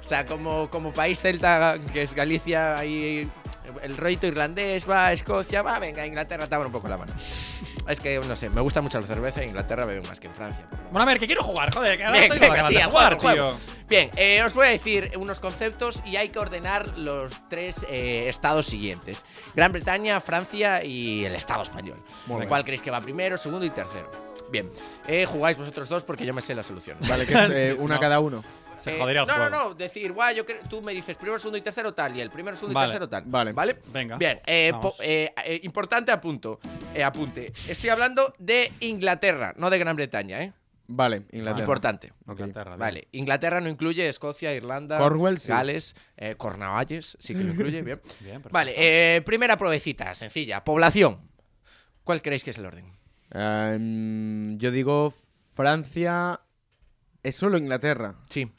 S1: o sea, como, como país celta, que es Galicia, ahí el rollito irlandés va a Escocia, va, venga, Inglaterra, te abro un poco la mano. Es que, no sé, me gusta mucho la cerveza, en Inglaterra beben más que en Francia. por lo menos.
S3: Bueno, a ver, que quiero jugar, joder. Que ahora
S1: Bien,
S3: estoy con
S1: venga,
S3: ganas
S1: sí,
S3: de
S1: al
S3: jugar,
S1: juego, al juego.
S3: tío.
S1: Bien, eh, os voy a decir unos conceptos y hay que ordenar los tres eh, estados siguientes. Gran Bretaña, Francia y el estado español.
S2: Muy
S1: ¿Cuál creéis que va primero, segundo y tercero? Bien, eh, jugáis vosotros dos porque yo me sé las soluciones.
S2: Vale, que es eh,
S3: Sí, sí,
S2: una
S3: no.
S2: cada uno.
S3: Se
S1: Eh,
S3: jodería el
S1: no,
S3: juego.
S1: No, no, decir, guay, yo creo- tú me dices primero, segundo y tercero tal, y el primero, segundo y
S3: Vale,
S1: tercero tal.
S2: vale.
S1: ¿Vale?
S3: Venga,
S1: Bien, eh,
S3: vamos.
S1: po- eh, eh, importante apunto, eh, apunte. Estoy hablando de Inglaterra, no de Gran Bretaña, ¿eh?
S2: Vale, Inglaterra.
S1: Importante.
S2: Ok.
S3: Inglaterra, bien.
S1: Vale, Inglaterra no incluye Escocia, Irlanda,
S2: Cornwall, sí.
S1: Gales, eh, Cornualles, sí que lo incluye, bien.
S3: Bien, perfecto.
S1: vale, eh, primera provecita, sencilla. Población. ¿Cuál creéis que es el orden?
S2: Em, yo digo Francia. Es solo Inglaterra.
S1: Sí.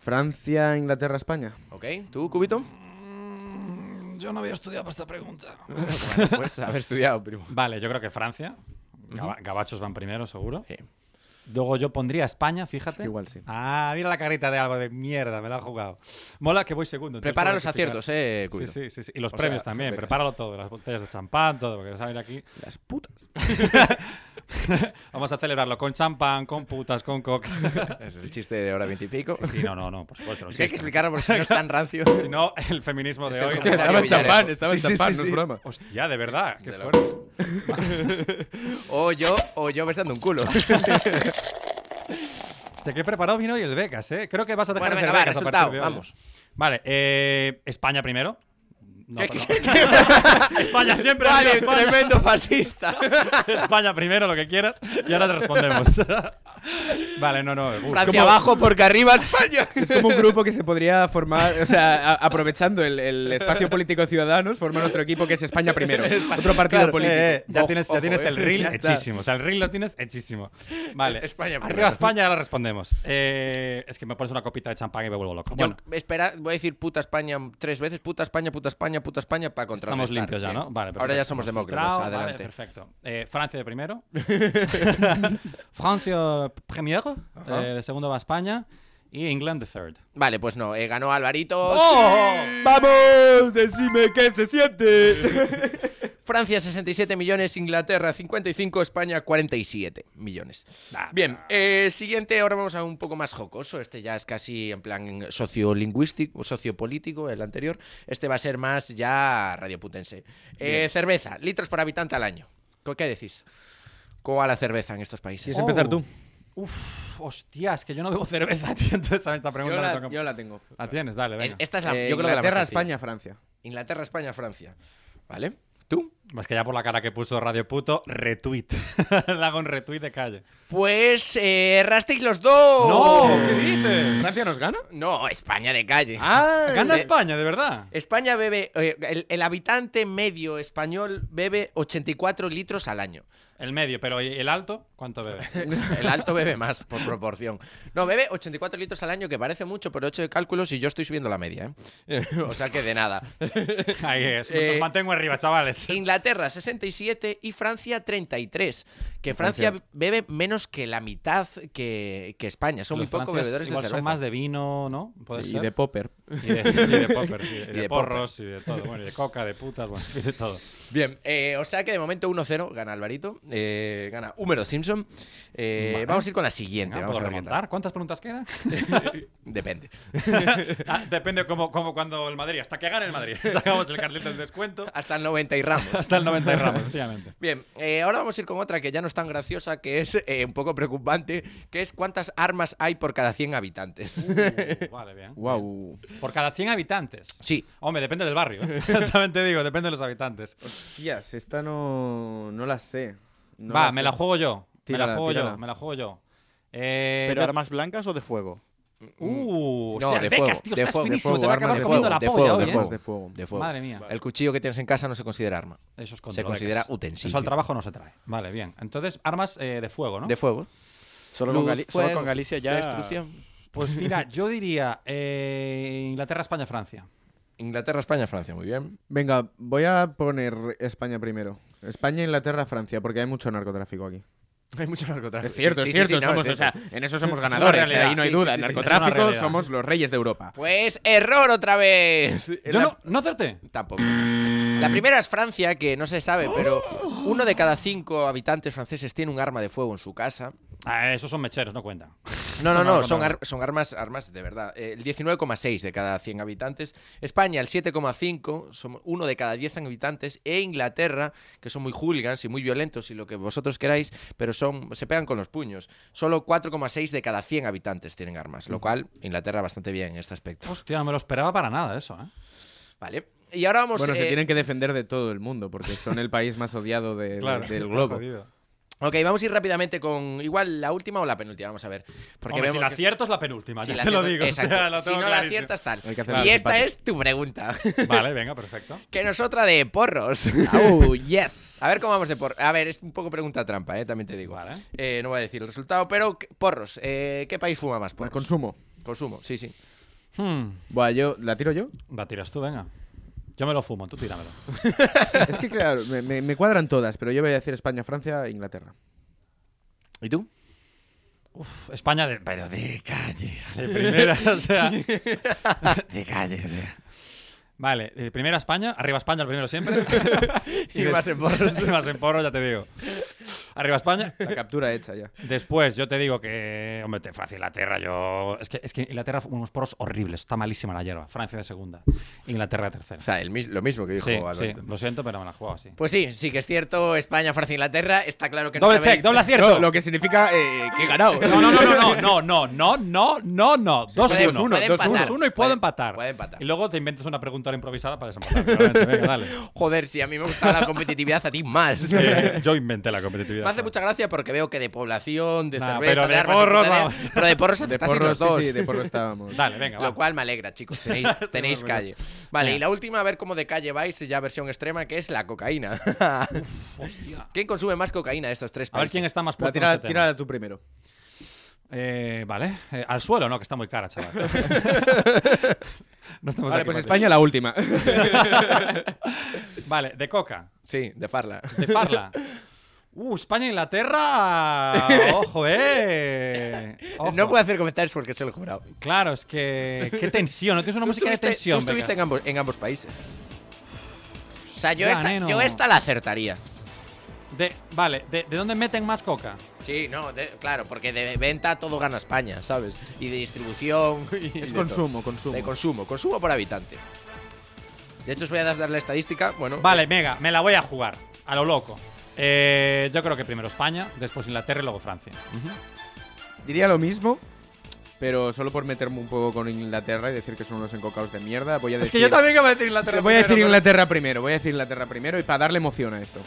S2: Francia, Inglaterra, España.
S1: ¿Ok? ¿Tú, Cubito?
S8: Mm, Yo no había estudiado para esta pregunta.
S1: Bueno, pues haber estudiado, primo.
S3: Vale, yo creo que Francia. Gaba- Gabachos van primero, seguro.
S1: Sí.
S3: Luego yo pondría España, fíjate.
S2: que igual sí.
S3: Ah, mira la carita de algo de mierda, me la ha jugado. Mola que voy segundo. entonces
S1: Prepara
S3: tengo
S1: los
S3: que fijar.
S1: aciertos, eh, Cubito.
S3: Sí, sí, sí, sí. Y los
S1: O
S3: premios
S1: sea,
S3: también.
S1: venga.
S3: Prepáralo todo. Las botellas de champán, todo. Porque saben aquí.
S2: Las putas.
S3: Vamos a celebrarlo con champán, con putas, con coca.
S1: Es el chiste de hora veintipico.
S3: Sí, sí, no, no, no, por supuesto. no
S1: Es que hay que
S3: existe.
S1: explicarlo porque si no es tan rancio.
S3: Si no, el feminismo de
S1: Es el
S3: hoy.
S1: Hostia, estaba en champán, estaba en champán, no es
S2: broma.
S3: Hostia, de verdad. Qué
S1: De la-
S3: fuerte.
S1: O yo, o yo besando un culo.
S3: Te que he preparado vino y el Becas, ¿eh? Creo que vas a dejar
S1: Bueno,
S3: de ser
S1: venga, va,
S3: Becas a
S1: resultado,
S3: partir de hoy.
S1: vamos.
S3: Vale, eh, España primero. No,
S1: ¿Qué-
S3: perdón.
S1: qué-
S3: España siempre.
S1: vale,
S3: amigo, España.
S1: tremendo fascista.
S3: España primero, lo que quieras. Y ahora te respondemos. vale, no, no. uh,
S1: Francia abajo porque arriba España.
S2: Es como un grupo que se podría formar, o sea, a- aprovechando el, el espacio político de Ciudadanos, formar otro equipo que es España primero. Otro partido
S1: Claro,
S2: político.
S3: eh, ya
S1: Ojo,
S3: tienes, ya
S1: ojo,
S3: tienes
S1: eh.
S3: el reel
S1: Ya está.
S3: hechísimo. O sea, el reel lo tienes hechísimo. Vale.
S1: España primero.
S3: Arriba España, ahora respondemos. Eh, es que me pones una copita de champán y me vuelvo loco. Bueno,
S1: Yo, espera, voy a decir puta España tres veces, puta España, puta España, puta España, para contrarrestar.
S3: estamos limpios ya,
S1: sí.
S3: ¿no? Vale,
S1: Ahora ya
S3: perfecto.
S1: somos
S3: Hemos
S1: demócratas,
S3: filtrado, vale,
S1: adelante.
S3: perfecto. Eh, Francia de primero. Francia premier.
S1: Ajá.
S3: Eh, de segundo va España. Y England de third.
S1: Vale, pues no, eh, ganó Alvarito.
S3: ¡Oh!
S1: ¡Oh!
S2: ¡Vamos! ¡Decime qué se siente!
S1: Francia 67 millones, Inglaterra 55, España 47 millones. Bien, eh, siguiente, ahora vamos a un poco más jocoso. Este ya es casi en plan sociolingüístico, sociopolítico, el anterior. Este va a ser más ya radioputense. Eh, cerveza, litros por habitante al año. ¿Co- ¿Qué decís? ¿Cómo va la cerveza en estos países?
S2: ¿Quieres empezar tú?
S3: Uf, hostias, que yo no bebo cerveza, tío. Entonces, a mí esta pregunta
S2: Yo
S3: me
S2: la,
S3: toca-
S2: yo la tengo.
S3: La tienes, dale,
S1: Es-
S3: venga.
S1: esta es la,
S2: Eh,
S1: yo creo que la más
S2: Inglaterra,
S1: sencilla.
S2: España, Francia.
S1: Inglaterra, España, Francia. ¿Vale? ¿Tú?
S3: Es que ya por la cara que puso Radio Puto, retweet. Le hago un retweet de calle.
S1: Pues eh, errasteis los dos.
S3: ¿Qué dices?
S2: ¿Francia nos gana?
S1: No, España de calle.
S2: Ah,
S3: Gana
S1: Eh,
S3: España, de verdad.
S1: España bebe, eh, el, el habitante medio español bebe 84 litros al año.
S3: El medio, pero ¿y el alto, ¿cuánto bebe?
S1: El alto bebe más, por proporción. No, bebe 84 litros al año, que parece mucho, pero he hecho de cálculos y yo estoy subiendo la media. ¿eh? o sea que de nada.
S3: Ahí es.
S1: Eh,
S3: Os mantengo arriba, chavales.
S1: Inglaterra 67 y Francia 33. Que Francia bebe menos que la mitad que, que España. Son muy
S3: Los
S1: pocos
S3: franceses
S1: bebedores
S3: igual
S1: de cerveza.
S3: son más de vino, ¿no? ¿Puede
S2: Y
S3: ser?
S2: de Popper.
S3: Y de, sí, de popper, sí, y de,
S1: de
S3: porros, y de todo. Bueno, y de coca, de putas, bueno, y de todo.
S1: Bien, eh, o sea que de momento 1-0 gana Alvarito, eh, gana Húmero Simpson. Eh,
S3: Vale.
S1: Vamos a ir con la siguiente.
S3: Venga,
S1: vamos a
S3: ¿Puedo
S1: ver qué
S3: remontar? ¿Cuántas preguntas quedan?
S1: tal. Depende.
S3: Ah, depende como, como cuando el Madrid, hasta que gane el Madrid. Sacamos el cartel del descuento
S1: Hasta el 90 y Ramos.
S3: hasta el 90 y ramos, efectivamente.
S1: Bien, eh, ahora vamos a ir con otra que ya no es tan graciosa, que es eh, un poco preocupante, que es cuántas armas hay por cada 100 habitantes.
S3: Uh, vale, bien.
S2: Wow.
S3: Por cada 100 habitantes.
S1: Sí,
S3: Hombre, depende del barrio. ¿eh? También te digo, depende de los habitantes.
S2: Tías, esta no, no la sé. No
S3: Va,
S2: sé.
S3: me la juego yo. me
S2: Tírala,
S3: la juego
S2: tírala.
S3: yo, me la juego yo. Eh,
S4: ¿Pero
S3: yo-
S4: armas blancas o de fuego?
S3: Uh,
S1: No,
S3: hostia,
S1: de
S3: becas,
S1: fuego,
S3: tío,
S1: de
S3: estás
S1: fuego, de
S3: finísimo,
S2: fuego,
S3: te va a
S2: armas
S3: acabar
S2: de
S3: comiendo
S2: fuego,
S3: la
S1: de
S3: polla
S1: fuego,
S3: hoy,
S1: de
S3: ¿eh?
S1: fuego.
S2: de fuego.
S1: de fuego.
S3: Madre mía.
S1: El cuchillo que tienes en casa no se considera arma.
S3: Eso es
S1: Se
S3: contra
S1: considera
S3: becas.
S1: utensilio.
S3: Eso al trabajo no se trae. Vale, bien. Entonces, armas eh, de fuego, ¿no?
S1: De fuego.
S4: Solo, con,
S1: Luz,
S4: Gali- solo
S1: fuego,
S4: con Galicia ya...
S1: Destrucción.
S3: Pues mira, yo diría eh, Inglaterra, España, Francia.
S1: Inglaterra, España, Francia, muy bien.
S2: Venga, voy a poner España primero. España, Inglaterra, Francia, porque hay mucho narcotráfico aquí.
S1: Hay mucho narcotráfico.
S2: Es cierto,
S1: Sí,
S2: es
S1: sí, sí,
S2: cierto.
S1: no,
S2: somos,
S1: es
S2: o sea,
S1: cierto.
S2: en eso somos
S3: una
S2: ganadores.
S3: realidad,
S2: ahí no hay
S3: sí,
S2: duda.
S3: sí, sí,
S2: en
S3: sí, es una
S2: narcotráfico
S3: realidad.
S2: somos los reyes de Europa.
S1: Pues error otra vez.
S2: Eh,
S3: Yo
S1: La-
S3: no, no acerté.
S1: Tampoco. La primera es Francia, que no se sabe, pero uno de cada cinco habitantes franceses tiene un arma de fuego en su casa.
S3: Ah, esos son mecheros, no cuentan.
S1: No, no, no,
S3: armas
S1: son,
S3: normales.
S1: ar- son armas, armas de verdad. Eh, El 19,6 de cada 100 habitantes. España, el 7,5, son uno de cada 10 habitantes. E Inglaterra, que son muy hooligans y muy violentos y lo que vosotros queráis, pero son se pegan con los puños. Solo 4,6 de cada 100 habitantes tienen armas, lo cual Inglaterra bastante bien en este aspecto.
S3: Hostia, no me lo esperaba para nada eso, ¿eh?
S1: Vale. Y ahora vamos
S2: Bueno, se
S1: eh,
S2: tienen que defender de todo el mundo porque son el país más odiado de- de- del
S3: está
S2: globo.
S3: jodido.
S1: Ok, vamos a ir rápidamente con igual la última o la penúltima, vamos a ver. Porque
S3: Hombre, si
S1: vemos
S3: la
S1: que-
S3: acierto es la penúltima,
S1: si
S3: ya
S1: la
S3: te lo
S1: aciertas-
S3: digo. o sea,
S1: exacto.
S3: lo
S1: si no
S3: tengo
S1: la
S3: clarísimo.
S1: aciertas, tal.
S2: Hay que hacer
S1: Y
S2: algo
S1: esta
S2: simpático.
S1: es tu pregunta,
S3: Vale, venga, perfecto.
S1: que no es otra de porros.
S3: Ah, uh,
S2: ¡Oh, yes!
S1: A ver cómo vamos de porros. A ver, es un poco pregunta trampa, eh, también te digo.
S3: Vale.
S1: Eh, no voy a decir el resultado, pero ¿qué- porros, eh, ¿qué país fuma más?
S2: Por
S1: Porros?
S2: consumo.
S1: Consumo, sí, sí.
S3: Hmm,
S2: Buah, yo, ¿la tiro yo?
S3: La tiras tú, venga. Yo me lo fumo, tú tíramelo.
S2: Es que, claro, me, me- me cuadran todas, pero yo voy a decir España, Francia e Inglaterra.
S1: ¿Y tú?
S3: Uf, España de. Pero de calle. De primera, o sea.
S1: De calle, o sea.
S3: Vale, de primera España, arriba España el primero siempre.
S1: Y más en porros.
S3: Y más en porros, ya te digo. Arriba España.
S2: La captura hecha ya.
S3: Después, yo te digo que. Hombre, te Francia, Inglaterra, yo. Es que, es que Inglaterra fue unos porros horribles. Está malísima la hierba. Francia de segunda. Inglaterra de tercera.
S1: O sea, el mis- lo mismo que dijo
S3: sí, sí,
S1: Alberto.
S3: lo siento, pero me la he jugado así.
S1: Pues sí, sí que es cierto, España, Francia, Inglaterra, está claro que no
S3: Doble
S1: sabéis-
S3: check, doble acierto.
S2: Lo que significa eh, que he ganado.
S3: No, no, no, no, no, no, no, no, no, no. Dos,
S1: puede-
S3: uno,
S1: puede
S3: dos,
S1: empatar.
S3: uno, uno y puedo
S1: Puede-
S3: empatar.
S1: puede empatar.
S3: Y luego te inventas una pregunta ahora improvisada para desempatar. claramente. Venga, dale.
S1: Joder, si a mí me gustaba la competitividad, a ti más.
S3: Eh, yo inventé la competitividad.
S1: Me hace mucha gracia porque veo que de población, de
S3: Nah,
S1: cerveza,
S3: pero de
S1: armas y
S3: porros,
S1: putadería-
S3: vamos.
S1: Pero de porros
S2: De
S1: acertasteis
S2: porro,
S1: los
S2: sí,
S1: dos.
S2: sí, de porro estábamos.
S3: Dale, venga, va.
S1: Lo cual me alegra, chicos. Tenéis, tenéis
S3: muy
S1: calle. Vale,
S3: Venga.
S1: y la última, a ver cómo de calle vais, ya versión extrema, que es la cocaína. ¿Quién consume más cocaína de estos tres
S3: A ver
S1: países?
S3: quién está más
S2: Va,
S3: puesto en
S2: tira,
S3: este tema.
S2: tira tú primero.
S3: Eh, vale. Eh, al suelo, no, que está muy cara, chaval. no estamos aquí
S2: Vale,
S3: este
S2: pues
S3: para-
S2: España la última.
S3: Vale, de coca.
S1: Sí, de farla.
S3: De farla. Uh, España e Inglaterra. Ojo, eh. Ojo.
S1: No puedo hacer comentarios porque soy el jurado.
S3: Claro, es que. Qué tensión. No tienes una
S1: Tú
S3: música de
S1: estuviste-
S3: tensión.
S1: Tú estuviste en
S3: venga.
S1: ambos, en ambos países. O sea, yo,
S3: Ya,
S1: esta,
S3: neno.
S1: yo esta la acertaría.
S3: De- vale, de, ¿de dónde meten más coca?
S1: Sí, no, de- claro, porque de venta todo gana España, ¿sabes? Y de distribución. y
S2: Es
S1: de
S2: consumo,
S1: todo.
S2: consumo.
S1: De consumo, consumo por habitante. De hecho, os voy a dar la estadística. Bueno,
S3: Vale, venga, me la voy a jugar. A lo loco. Eh, yo creo que primero España, después Inglaterra y luego Francia.
S2: Diría lo mismo, pero solo por meterme un poco con Inglaterra y decir que son unos encocados de mierda, voy a decir...
S3: iba a decir
S2: Te
S3: Inglaterra.
S2: voy a decir Inglaterra primero, voy a decir Inglaterra primero y para darle emoción a esto.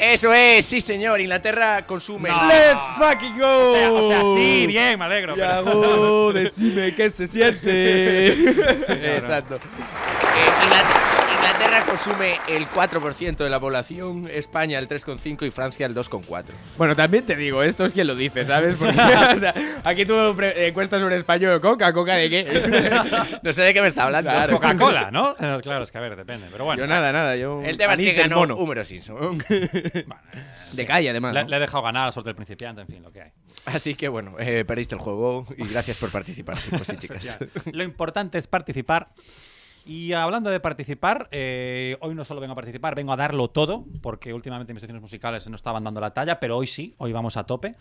S1: Eso es, sí, señor. Inglaterra consume.
S3: No.
S2: ¡Let's fucking go!
S3: O sea, o sea,
S2: Uh,
S3: sí, bien, me alegro. pero-
S2: Yago, decime qué se siente.
S1: Exacto. Eh, Inglaterra, Inglaterra consume el 4% de la población, España el 3,5% y Francia el 2,4%.
S2: bueno, también te digo, esto es quien lo dice, ¿sabes? Porque, o sea, aquí tú pre- eh, encuestas sobre español de coca, coca de qué.
S1: No sé de qué me está hablando.
S3: Coca-Cola, ¿no? Eh, Claro, es que a ver, depende. Pero bueno,
S2: Yo nada, nada, yo.
S1: El tema es
S2: anís
S1: que
S2: del
S1: ganó
S2: mono.
S1: Húmero Simpson.
S2: De calle, además.
S3: le,
S2: ¿no?
S3: le he dejado ganar a la suerte del principiante, en fin, lo que hay.
S1: Así que bueno, eh, perdiste el juego y gracias por participar, chicos y chicas.
S3: Ya. Lo importante es participar. Y hablando de participar, eh, hoy no solo vengo a participar, vengo a darlo todo, porque últimamente mis secciones musicales no estaban dando la talla, pero hoy sí, hoy vamos a tope.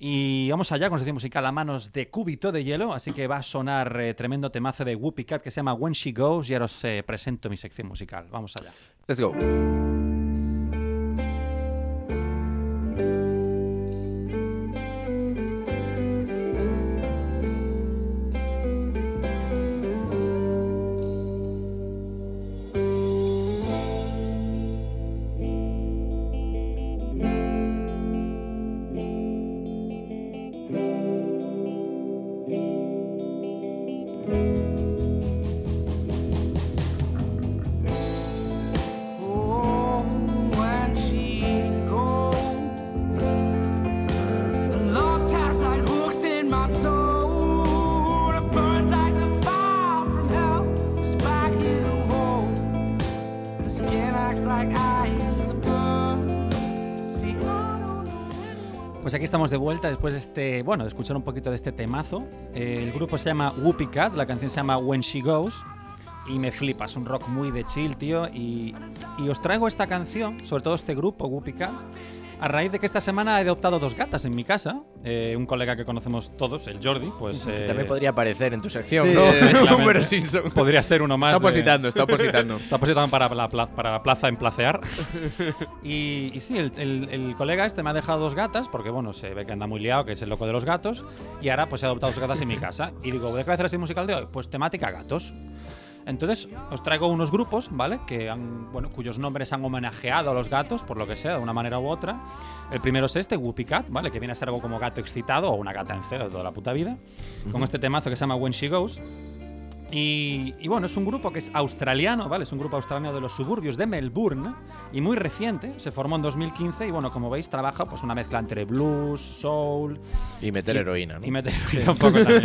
S3: Y vamos allá con la sección musical a manos de Cúbito de Hielo, así que va a sonar eh, tremendo temazo de Whoopi Cat que se llama When She Goes y ahora os eh, presento mi sección musical. Vamos allá.
S1: Let's go.
S8: Oh, when she goes, the love taps like hooks in my soul. It burns like the fire from hell, just back in the hole. The skin acts like ice in the bone. See, I don't know.
S3: Pues aquí estamos de vuelta después de este, bueno, de escuchar un poquito de este temazo. Eh, el grupo se llama Whoopi Cat, la canción se llama When She Goes y me flipa, es un rock muy de chill, tío, y, y os traigo esta canción, sobre todo este grupo Whoopi Cat, a raíz de que esta semana he adoptado dos gatas en mi casa, Eh, un colega que conocemos todos, el Jordi, pues eh,
S1: También podría aparecer en tu sección,
S2: Sí,
S1: ¿no?
S2: eh,
S3: claramente.
S1: Homer Simpson.
S3: podría ser uno más.
S2: Está
S3: de-
S2: opositando, está opositando.
S3: Está positando para la, pla- para la plaza en placear. Y, y sí, el, el- el colega este me ha dejado dos gatas, porque bueno, se ve que anda muy liado, que es el loco de los gatos, y ahora pues he adoptado dos gatas en mi casa. Y digo, ¿de qué va a hacer este musical de hoy? Pues temática gatos. Entonces, os traigo unos grupos, ¿vale? Que han, bueno, cuyos nombres han homenajeado a los gatos, por lo que sea, de una manera u otra. El primero es este, Whoopi Cat, ¿vale? Que viene a ser algo como gato excitado o una gata en cero de toda la puta vida. Con este temazo que se llama When She Goes. Y, y bueno, es un grupo que es australiano, ¿vale? Es un grupo australiano de los suburbios de Melbourne y muy reciente, se formó en 2015 y bueno, como veis, trabaja pues una mezcla entre blues, soul,
S1: Y meter
S3: y-
S1: heroína, ¿no?
S3: Y meter heroína un poco también.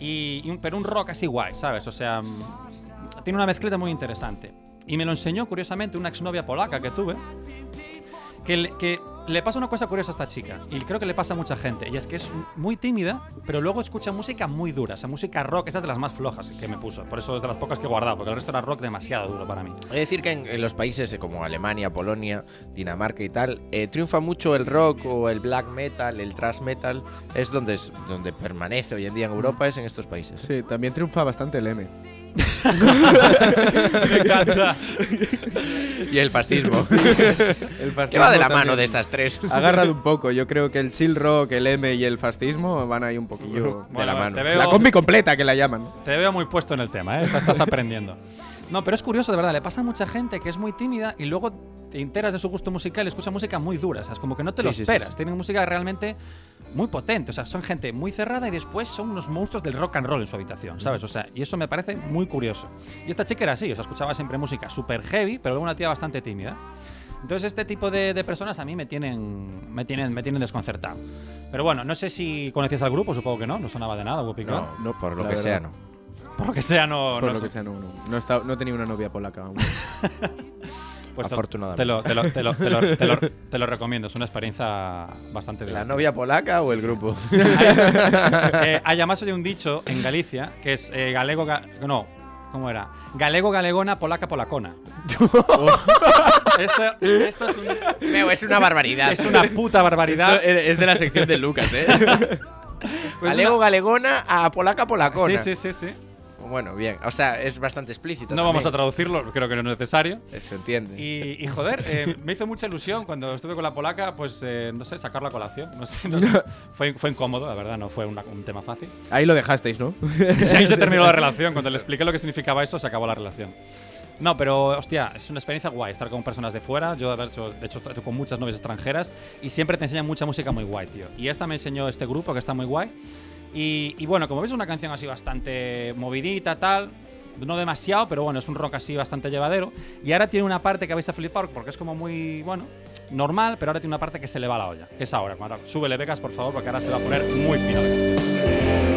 S3: Y- y un- pero un rock así guay, ¿sabes? O sea, mm, tiene una mezcleta muy interesante. Y me lo enseñó, curiosamente, una exnovia polaca que tuve, que le, que le pasa una cosa curiosa a esta chica, y creo que le pasa a mucha gente, y es que es muy tímida, pero luego escucha música muy dura, o sea, música rock, esta es de las más flojas que me puso, por eso es de las pocas que he guardado, porque el resto era rock demasiado duro para mí.
S1: Es decir, que en, en los países eh, como Alemania, Polonia, Dinamarca y tal, eh, triunfa mucho el rock o el black metal, el thrash metal. Es donde, es- donde permanece hoy en día en Europa, es en estos países.
S2: Sí, también triunfa bastante el M.
S3: Me encanta.
S1: Y el fascismo.
S2: El
S1: que va de la mano de
S2: fascismo también. Ah,
S1: esas tres.
S2: Agarrado un poco, yo creo que el chill rock, el M y el fascismo van ahí un poquillo.
S1: de la
S3: Bueno,
S1: mano.
S3: te veo-
S2: La combi completa que la llaman.
S3: Te veo muy puesto en el tema, ¿eh? Estás- estás aprendiendo. No, pero es curioso, de verdad, le pasa a mucha gente que es muy tímida y luego te enteras de su gusto musical y escucha música muy dura, o sea, es como que no te lo
S1: Sí, sí, sí,
S3: esperas.
S1: sí.
S3: Tienen música realmente muy potente, o sea, son gente muy cerrada y después son unos monstruos del rock and roll en su habitación, ¿sabes? O sea, y eso me parece muy curioso. Y esta chica era así, o sea, escuchaba siempre música súper heavy, pero luego una tía bastante tímida. Entonces este tipo de, de personas a mí me tienen, me tienen, me tienen desconcertado. Pero bueno, no sé si conocías al grupo, supongo que no, no sonaba de nada, Whoopi Goldberg.
S1: No, no, por lo
S2: la
S1: que
S2: verdad.
S1: sea, no.
S3: Por lo que sea, no.
S2: Por
S3: no
S2: lo
S3: sé.
S2: que sea, no, no. No, he estado- no he tenido una novia polaca aún.
S3: Pues te-
S1: Afortunadamente.
S3: Te lo, te, lo, te, lo, te, lo, te lo- te lo recomiendo, es una experiencia bastante
S1: ¿La
S3: divertida.
S1: novia polaca o el grupo?
S3: Hay, eh, hay además hay un dicho en Galicia que es eh, galego. ga- no, ¿cómo era? Galego, galegona, polaca, polacona. esto, esto es, un-
S1: Veo, es una barbaridad.
S3: es una puta barbaridad.
S1: es de la sección de Lucas, ¿eh? Galego galegona a polaca polacona.
S3: Sí, sí, sí, sí.
S1: Bueno, bien. O sea, es bastante explícito.
S3: No vamos a
S1: también. Eh,
S3: traducirlo, creo que no es necesario.
S1: Se entiende.
S3: Y, y, joder, eh, me hizo mucha ilusión cuando estuve con la polaca, pues eh, no sé, sacar la colación. No sé, no- fue, fue incómodo, la verdad, no fue una- un tema fácil.
S2: Ahí lo dejasteis, ¿no?
S3: Y ahí se terminó la relación. Cuando le expliqué lo que significaba eso, se acabó la relación. No, pero hostia, es una experiencia guay estar con personas de fuera. Yo, de hecho, de hecho, estoy con muchas novias extranjeras y siempre te enseñan mucha música muy guay, tío. Y esta me enseñó este grupo que está muy guay. Y, y bueno, como veis, es una canción así bastante movidita, tal. No demasiado, pero bueno, es un rock así bastante llevadero. Y ahora tiene una parte que vais a flipar porque es como muy, bueno, normal, pero ahora tiene una parte que se le va la olla. Que es ahora. Ahora, súbele, Becas, por favor, porque ahora se va a poner muy fino.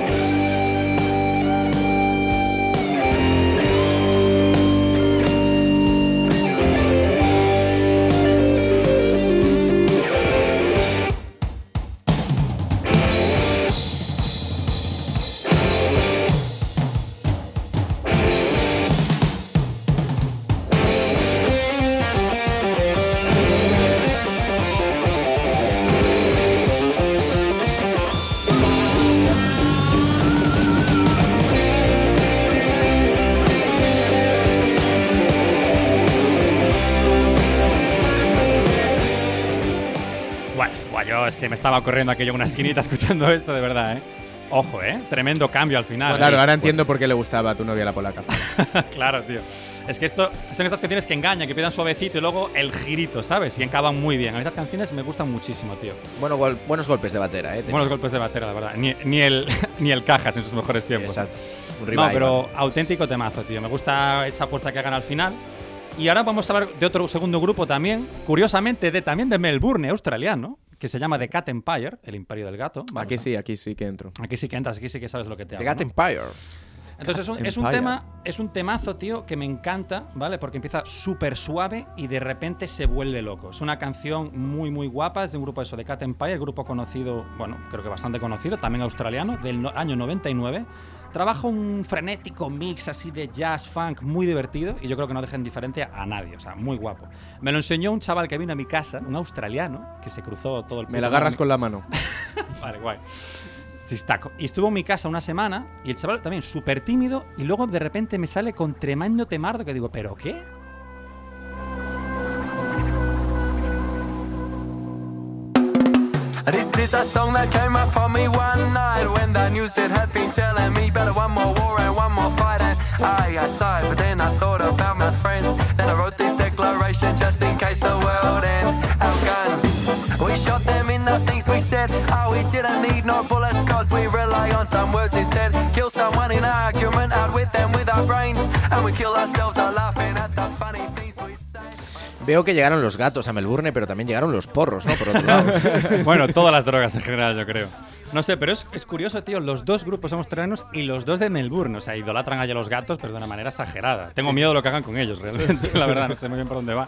S3: Bueno, bueno, yo es que me estaba corriendo aquello en una esquinita escuchando esto, de verdad, ¿eh? Ojo, ¿eh? Tremendo cambio al final.
S2: Claro,
S3: ¿eh?
S2: ahora entiendo por qué le gustaba a tu novia la polaca.
S3: claro, tío. Es que esto son estas canciones que engañan, que pidan suavecito y luego el girito, ¿sabes? Y encaban muy bien. A mí estas canciones me gustan muchísimo, tío.
S1: Bueno, gol- buenos golpes de batera, ¿eh?
S3: Buenos golpes de batera, la verdad. Ni, ni el, ni el cajas en sus mejores tiempos.
S1: Exacto. Un
S3: No,
S1: revival.
S3: pero auténtico temazo, tío. Me gusta esa fuerza que hagan al final. Y ahora vamos a hablar de otro segundo grupo también, curiosamente, de también de Melbourne, australiano, que se llama The Cat Empire, el imperio del gato. Vamos
S2: Aquí
S3: a-
S2: sí, aquí sí que entro.
S3: Aquí sí que entras, aquí sí que sabes lo que te
S1: The
S3: hablo.
S1: Gat
S3: ¿no?
S1: Empire.
S3: Entonces es un, es un
S2: Empire.
S3: tema, es un temazo, tío, que me encanta, ¿vale? Porque empieza súper suave y de repente se vuelve loco. Es una canción muy, muy guapa, es de un grupo eso, de Cat Empire, grupo conocido, bueno, creo que bastante conocido, también australiano, del no- año 99. Trabaja un frenético mix así de jazz, funk, muy divertido y yo creo que no deja indiferente a nadie, o sea, muy guapo. Me lo enseñó un chaval que vino a mi casa, un australiano, que se cruzó todo el
S2: Me
S3: puto
S2: la agarras
S3: mundo.
S2: con la mano.
S3: Vale, guay. Chistaco. Y estuvo en mi casa una semana y el chaval también súper tímido y luego de repente me sale con tremendo temardo que digo, ¿pero qué?
S7: This is a song that came up on me one night when the news it had been telling me better one more war and one more fight and I got shy, but then I thought about my friends. Then I wrote this declaration just in case the world ends. Our guns, we shot them in the things we said. Oh, we didn't need no bullets, cause we rely on some words instead. Kill someone in an argument, out with them with our brains. And we kill ourselves, are laughing at the funny things we say.
S1: Veo que llegaron los gatos a Melbourne, pero también llegaron los porros, ¿no? Por otro lado.
S3: bueno, todas las drogas en general, yo creo. No sé, pero es, es curioso, tío. Los dos grupos somos terrenos y los dos de Melbourne. O sea, idolatran allá a los gatos, pero de una manera exagerada. Tengo miedo de lo que hagan con ellos, realmente. La verdad, no sé muy bien por dónde va.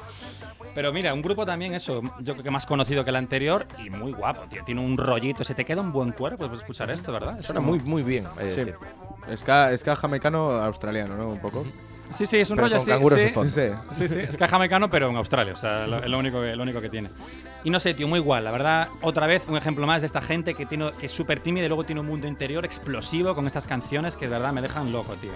S3: Pero mira, un grupo también, eso, yo creo que más conocido que el anterior y muy guapo, tío. Tiene un rollito. Se te queda un buen cuerpo pues escuchar esto, ¿verdad? Es
S1: Suena
S3: como-
S1: muy, muy bien. hay que
S2: Sí.
S1: decir.
S2: Ska, ska jamaicano australiano, ¿no? Un poco.
S3: Sí, sí, es un
S1: Pero
S3: rollo
S1: con
S3: así.
S1: canguros
S3: sí.
S1: en fondo.
S2: Sí.
S3: Sí, sí, es que es jamaicano, pero en Australia, o sea, lo- es lo único, que, lo único que tiene. Y no sé, tío, muy igual, la verdad, otra vez un ejemplo más de esta gente que, tiene, que es súper tímida y luego tiene un mundo interior explosivo con estas canciones que de verdad me dejan loco, tío.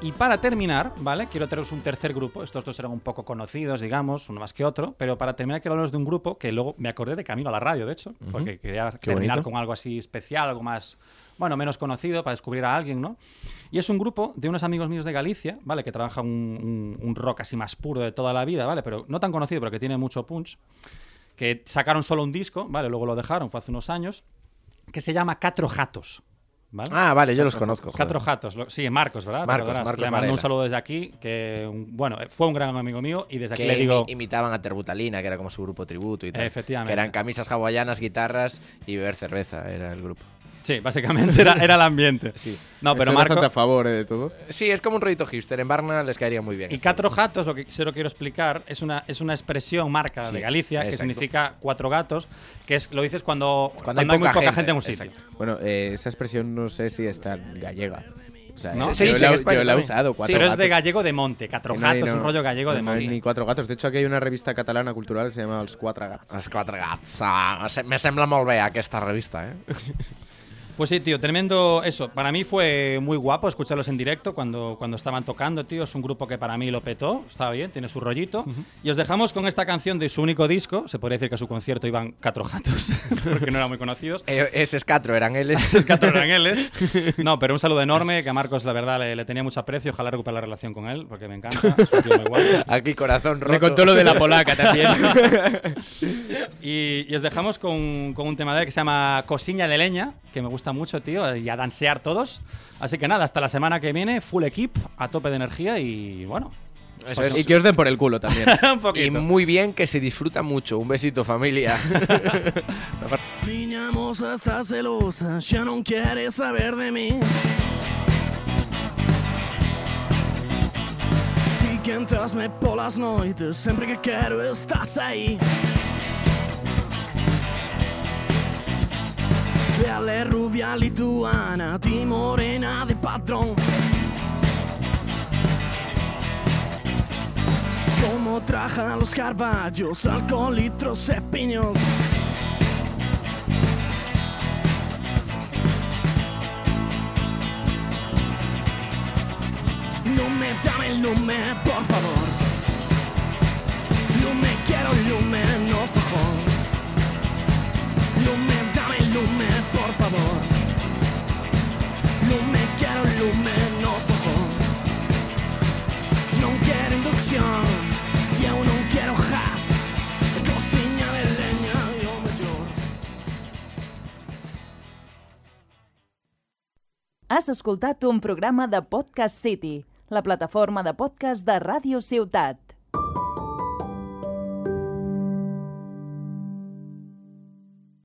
S3: Y para terminar, ¿vale? Quiero traeros un tercer grupo, estos dos eran un poco conocidos, digamos, uno más que otro, pero para terminar quiero hablaros de un grupo que luego me acordé de camino a la radio, de hecho, porque quería terminar
S1: bonito.
S3: con algo así especial, algo más, bueno, menos conocido, para descubrir a alguien, ¿no? Y es un grupo de unos amigos míos de Galicia, ¿vale? Que trabaja un, un- un rock así más puro de toda la vida, ¿vale? Pero no tan conocido, pero que tiene mucho punch. Que sacaron solo un disco, ¿vale? Luego lo dejaron, fue hace unos años, que se llama Catro Jatos, ¿vale?
S1: Ah, vale, yo los conozco. joder.
S3: Catro Jatos, lo- sí, Marcos, ¿verdad? Te
S1: Marcos,
S3: acordarás.
S1: Marcos
S3: le mando un
S1: Varela.
S3: saludo desde aquí, que, un- bueno, fue un gran amigo mío y desde aquí
S1: Que
S3: le digo...
S1: imi- imitaban a Terbutalina, que era como su grupo tributo y tal.
S3: Efectivamente.
S1: Que eran camisas hawaianas, guitarras y beber cerveza, era el grupo.
S3: Sí, básicamente era, era el ambiente.
S1: Sí.
S3: No, pero
S2: Estoy
S3: Marcos...
S2: bastante a favor eh, de todo.
S1: Sí, es como un rollito hipster. En Barna les caería muy bien.
S3: Y
S1: esto.
S3: cuatro gatos, lo que se lo quiero explicar, es una, es una expresión marca
S1: Sí,
S3: de Galicia que
S1: exacto.
S3: significa cuatro gatos, que es lo dices cuando, cuando,
S1: hay
S3: hay, muy
S1: poca
S3: poca gente,
S1: gente,
S3: en un sitio.
S1: exacto.
S2: Bueno, eh, esa expresión no sé si es tan gallega. O sea,
S1: ¿No?
S2: yo,
S1: Se dice en
S2: la,
S1: España
S2: yo la he
S1: también.
S2: usado. Cuatro
S3: Pero es de
S2: gatos.
S3: gallego de monte, cuatro
S2: No hay,
S3: gatos,
S2: no-
S3: un rollo gallego de
S2: no hay
S3: monte.
S2: ni cuatro gatos. De hecho, aquí hay una revista catalana cultural que se llama Los Cuatro Gatos.
S1: Els quatre gats. Ah, se- me sembla molt bé aquesta revista, eh?
S3: Pues sí, tío, tremendo eso. Para mí fue muy guapo escucharlos en directo cuando, cuando estaban tocando, tío. Es un grupo que para mí lo petó, está bien, tiene su rollito. Y os dejamos con esta canción de su único disco. Se podría decir que a su concierto iban cuatro gatos, porque no eran muy conocidos.
S1: eh eses catro eran eles.
S3: Los cuatro eran éles. No, pero un saludo enorme, que a Marcos, la verdad, le, le tenía mucho aprecio. Ojalá recupere la relación con él, porque me encanta. es un tío muy guapo.
S1: Aquí corazón roto.
S2: Me contó lo de la polaca también.
S3: Y, y os dejamos con, con un tema de él que se llama Cosiña de Leña, que me gusta mucho, tío, y a dansear todos. Así que nada, hasta la semana que viene, full equip, a tope de energía y bueno.
S1: Eso es.
S2: y que os den por el culo también.
S3: un
S1: Y
S3: poquito.
S1: muy bien que se disfruta mucho. Un besito, familia.
S8: Minha moça está celosa, já não quer saber de mim. Fica atrás me pelas noites, sempre que quero estás aí. Ela é rubia lituana, de morena de padrão. Como trajan los carvalhos, alcohol y trocepiños. No me dame el lume, por favor. No me quiero el lume, no por favor. No me dame el lume, por favor. No me quiero el lume, no por favor. No quiero inducción, y aún no quiero gas. Cocina de leña, yo me lloro.
S9: Has escoltat un programa de Podcast City, la plataforma de podcast de Ràdio Ciutat.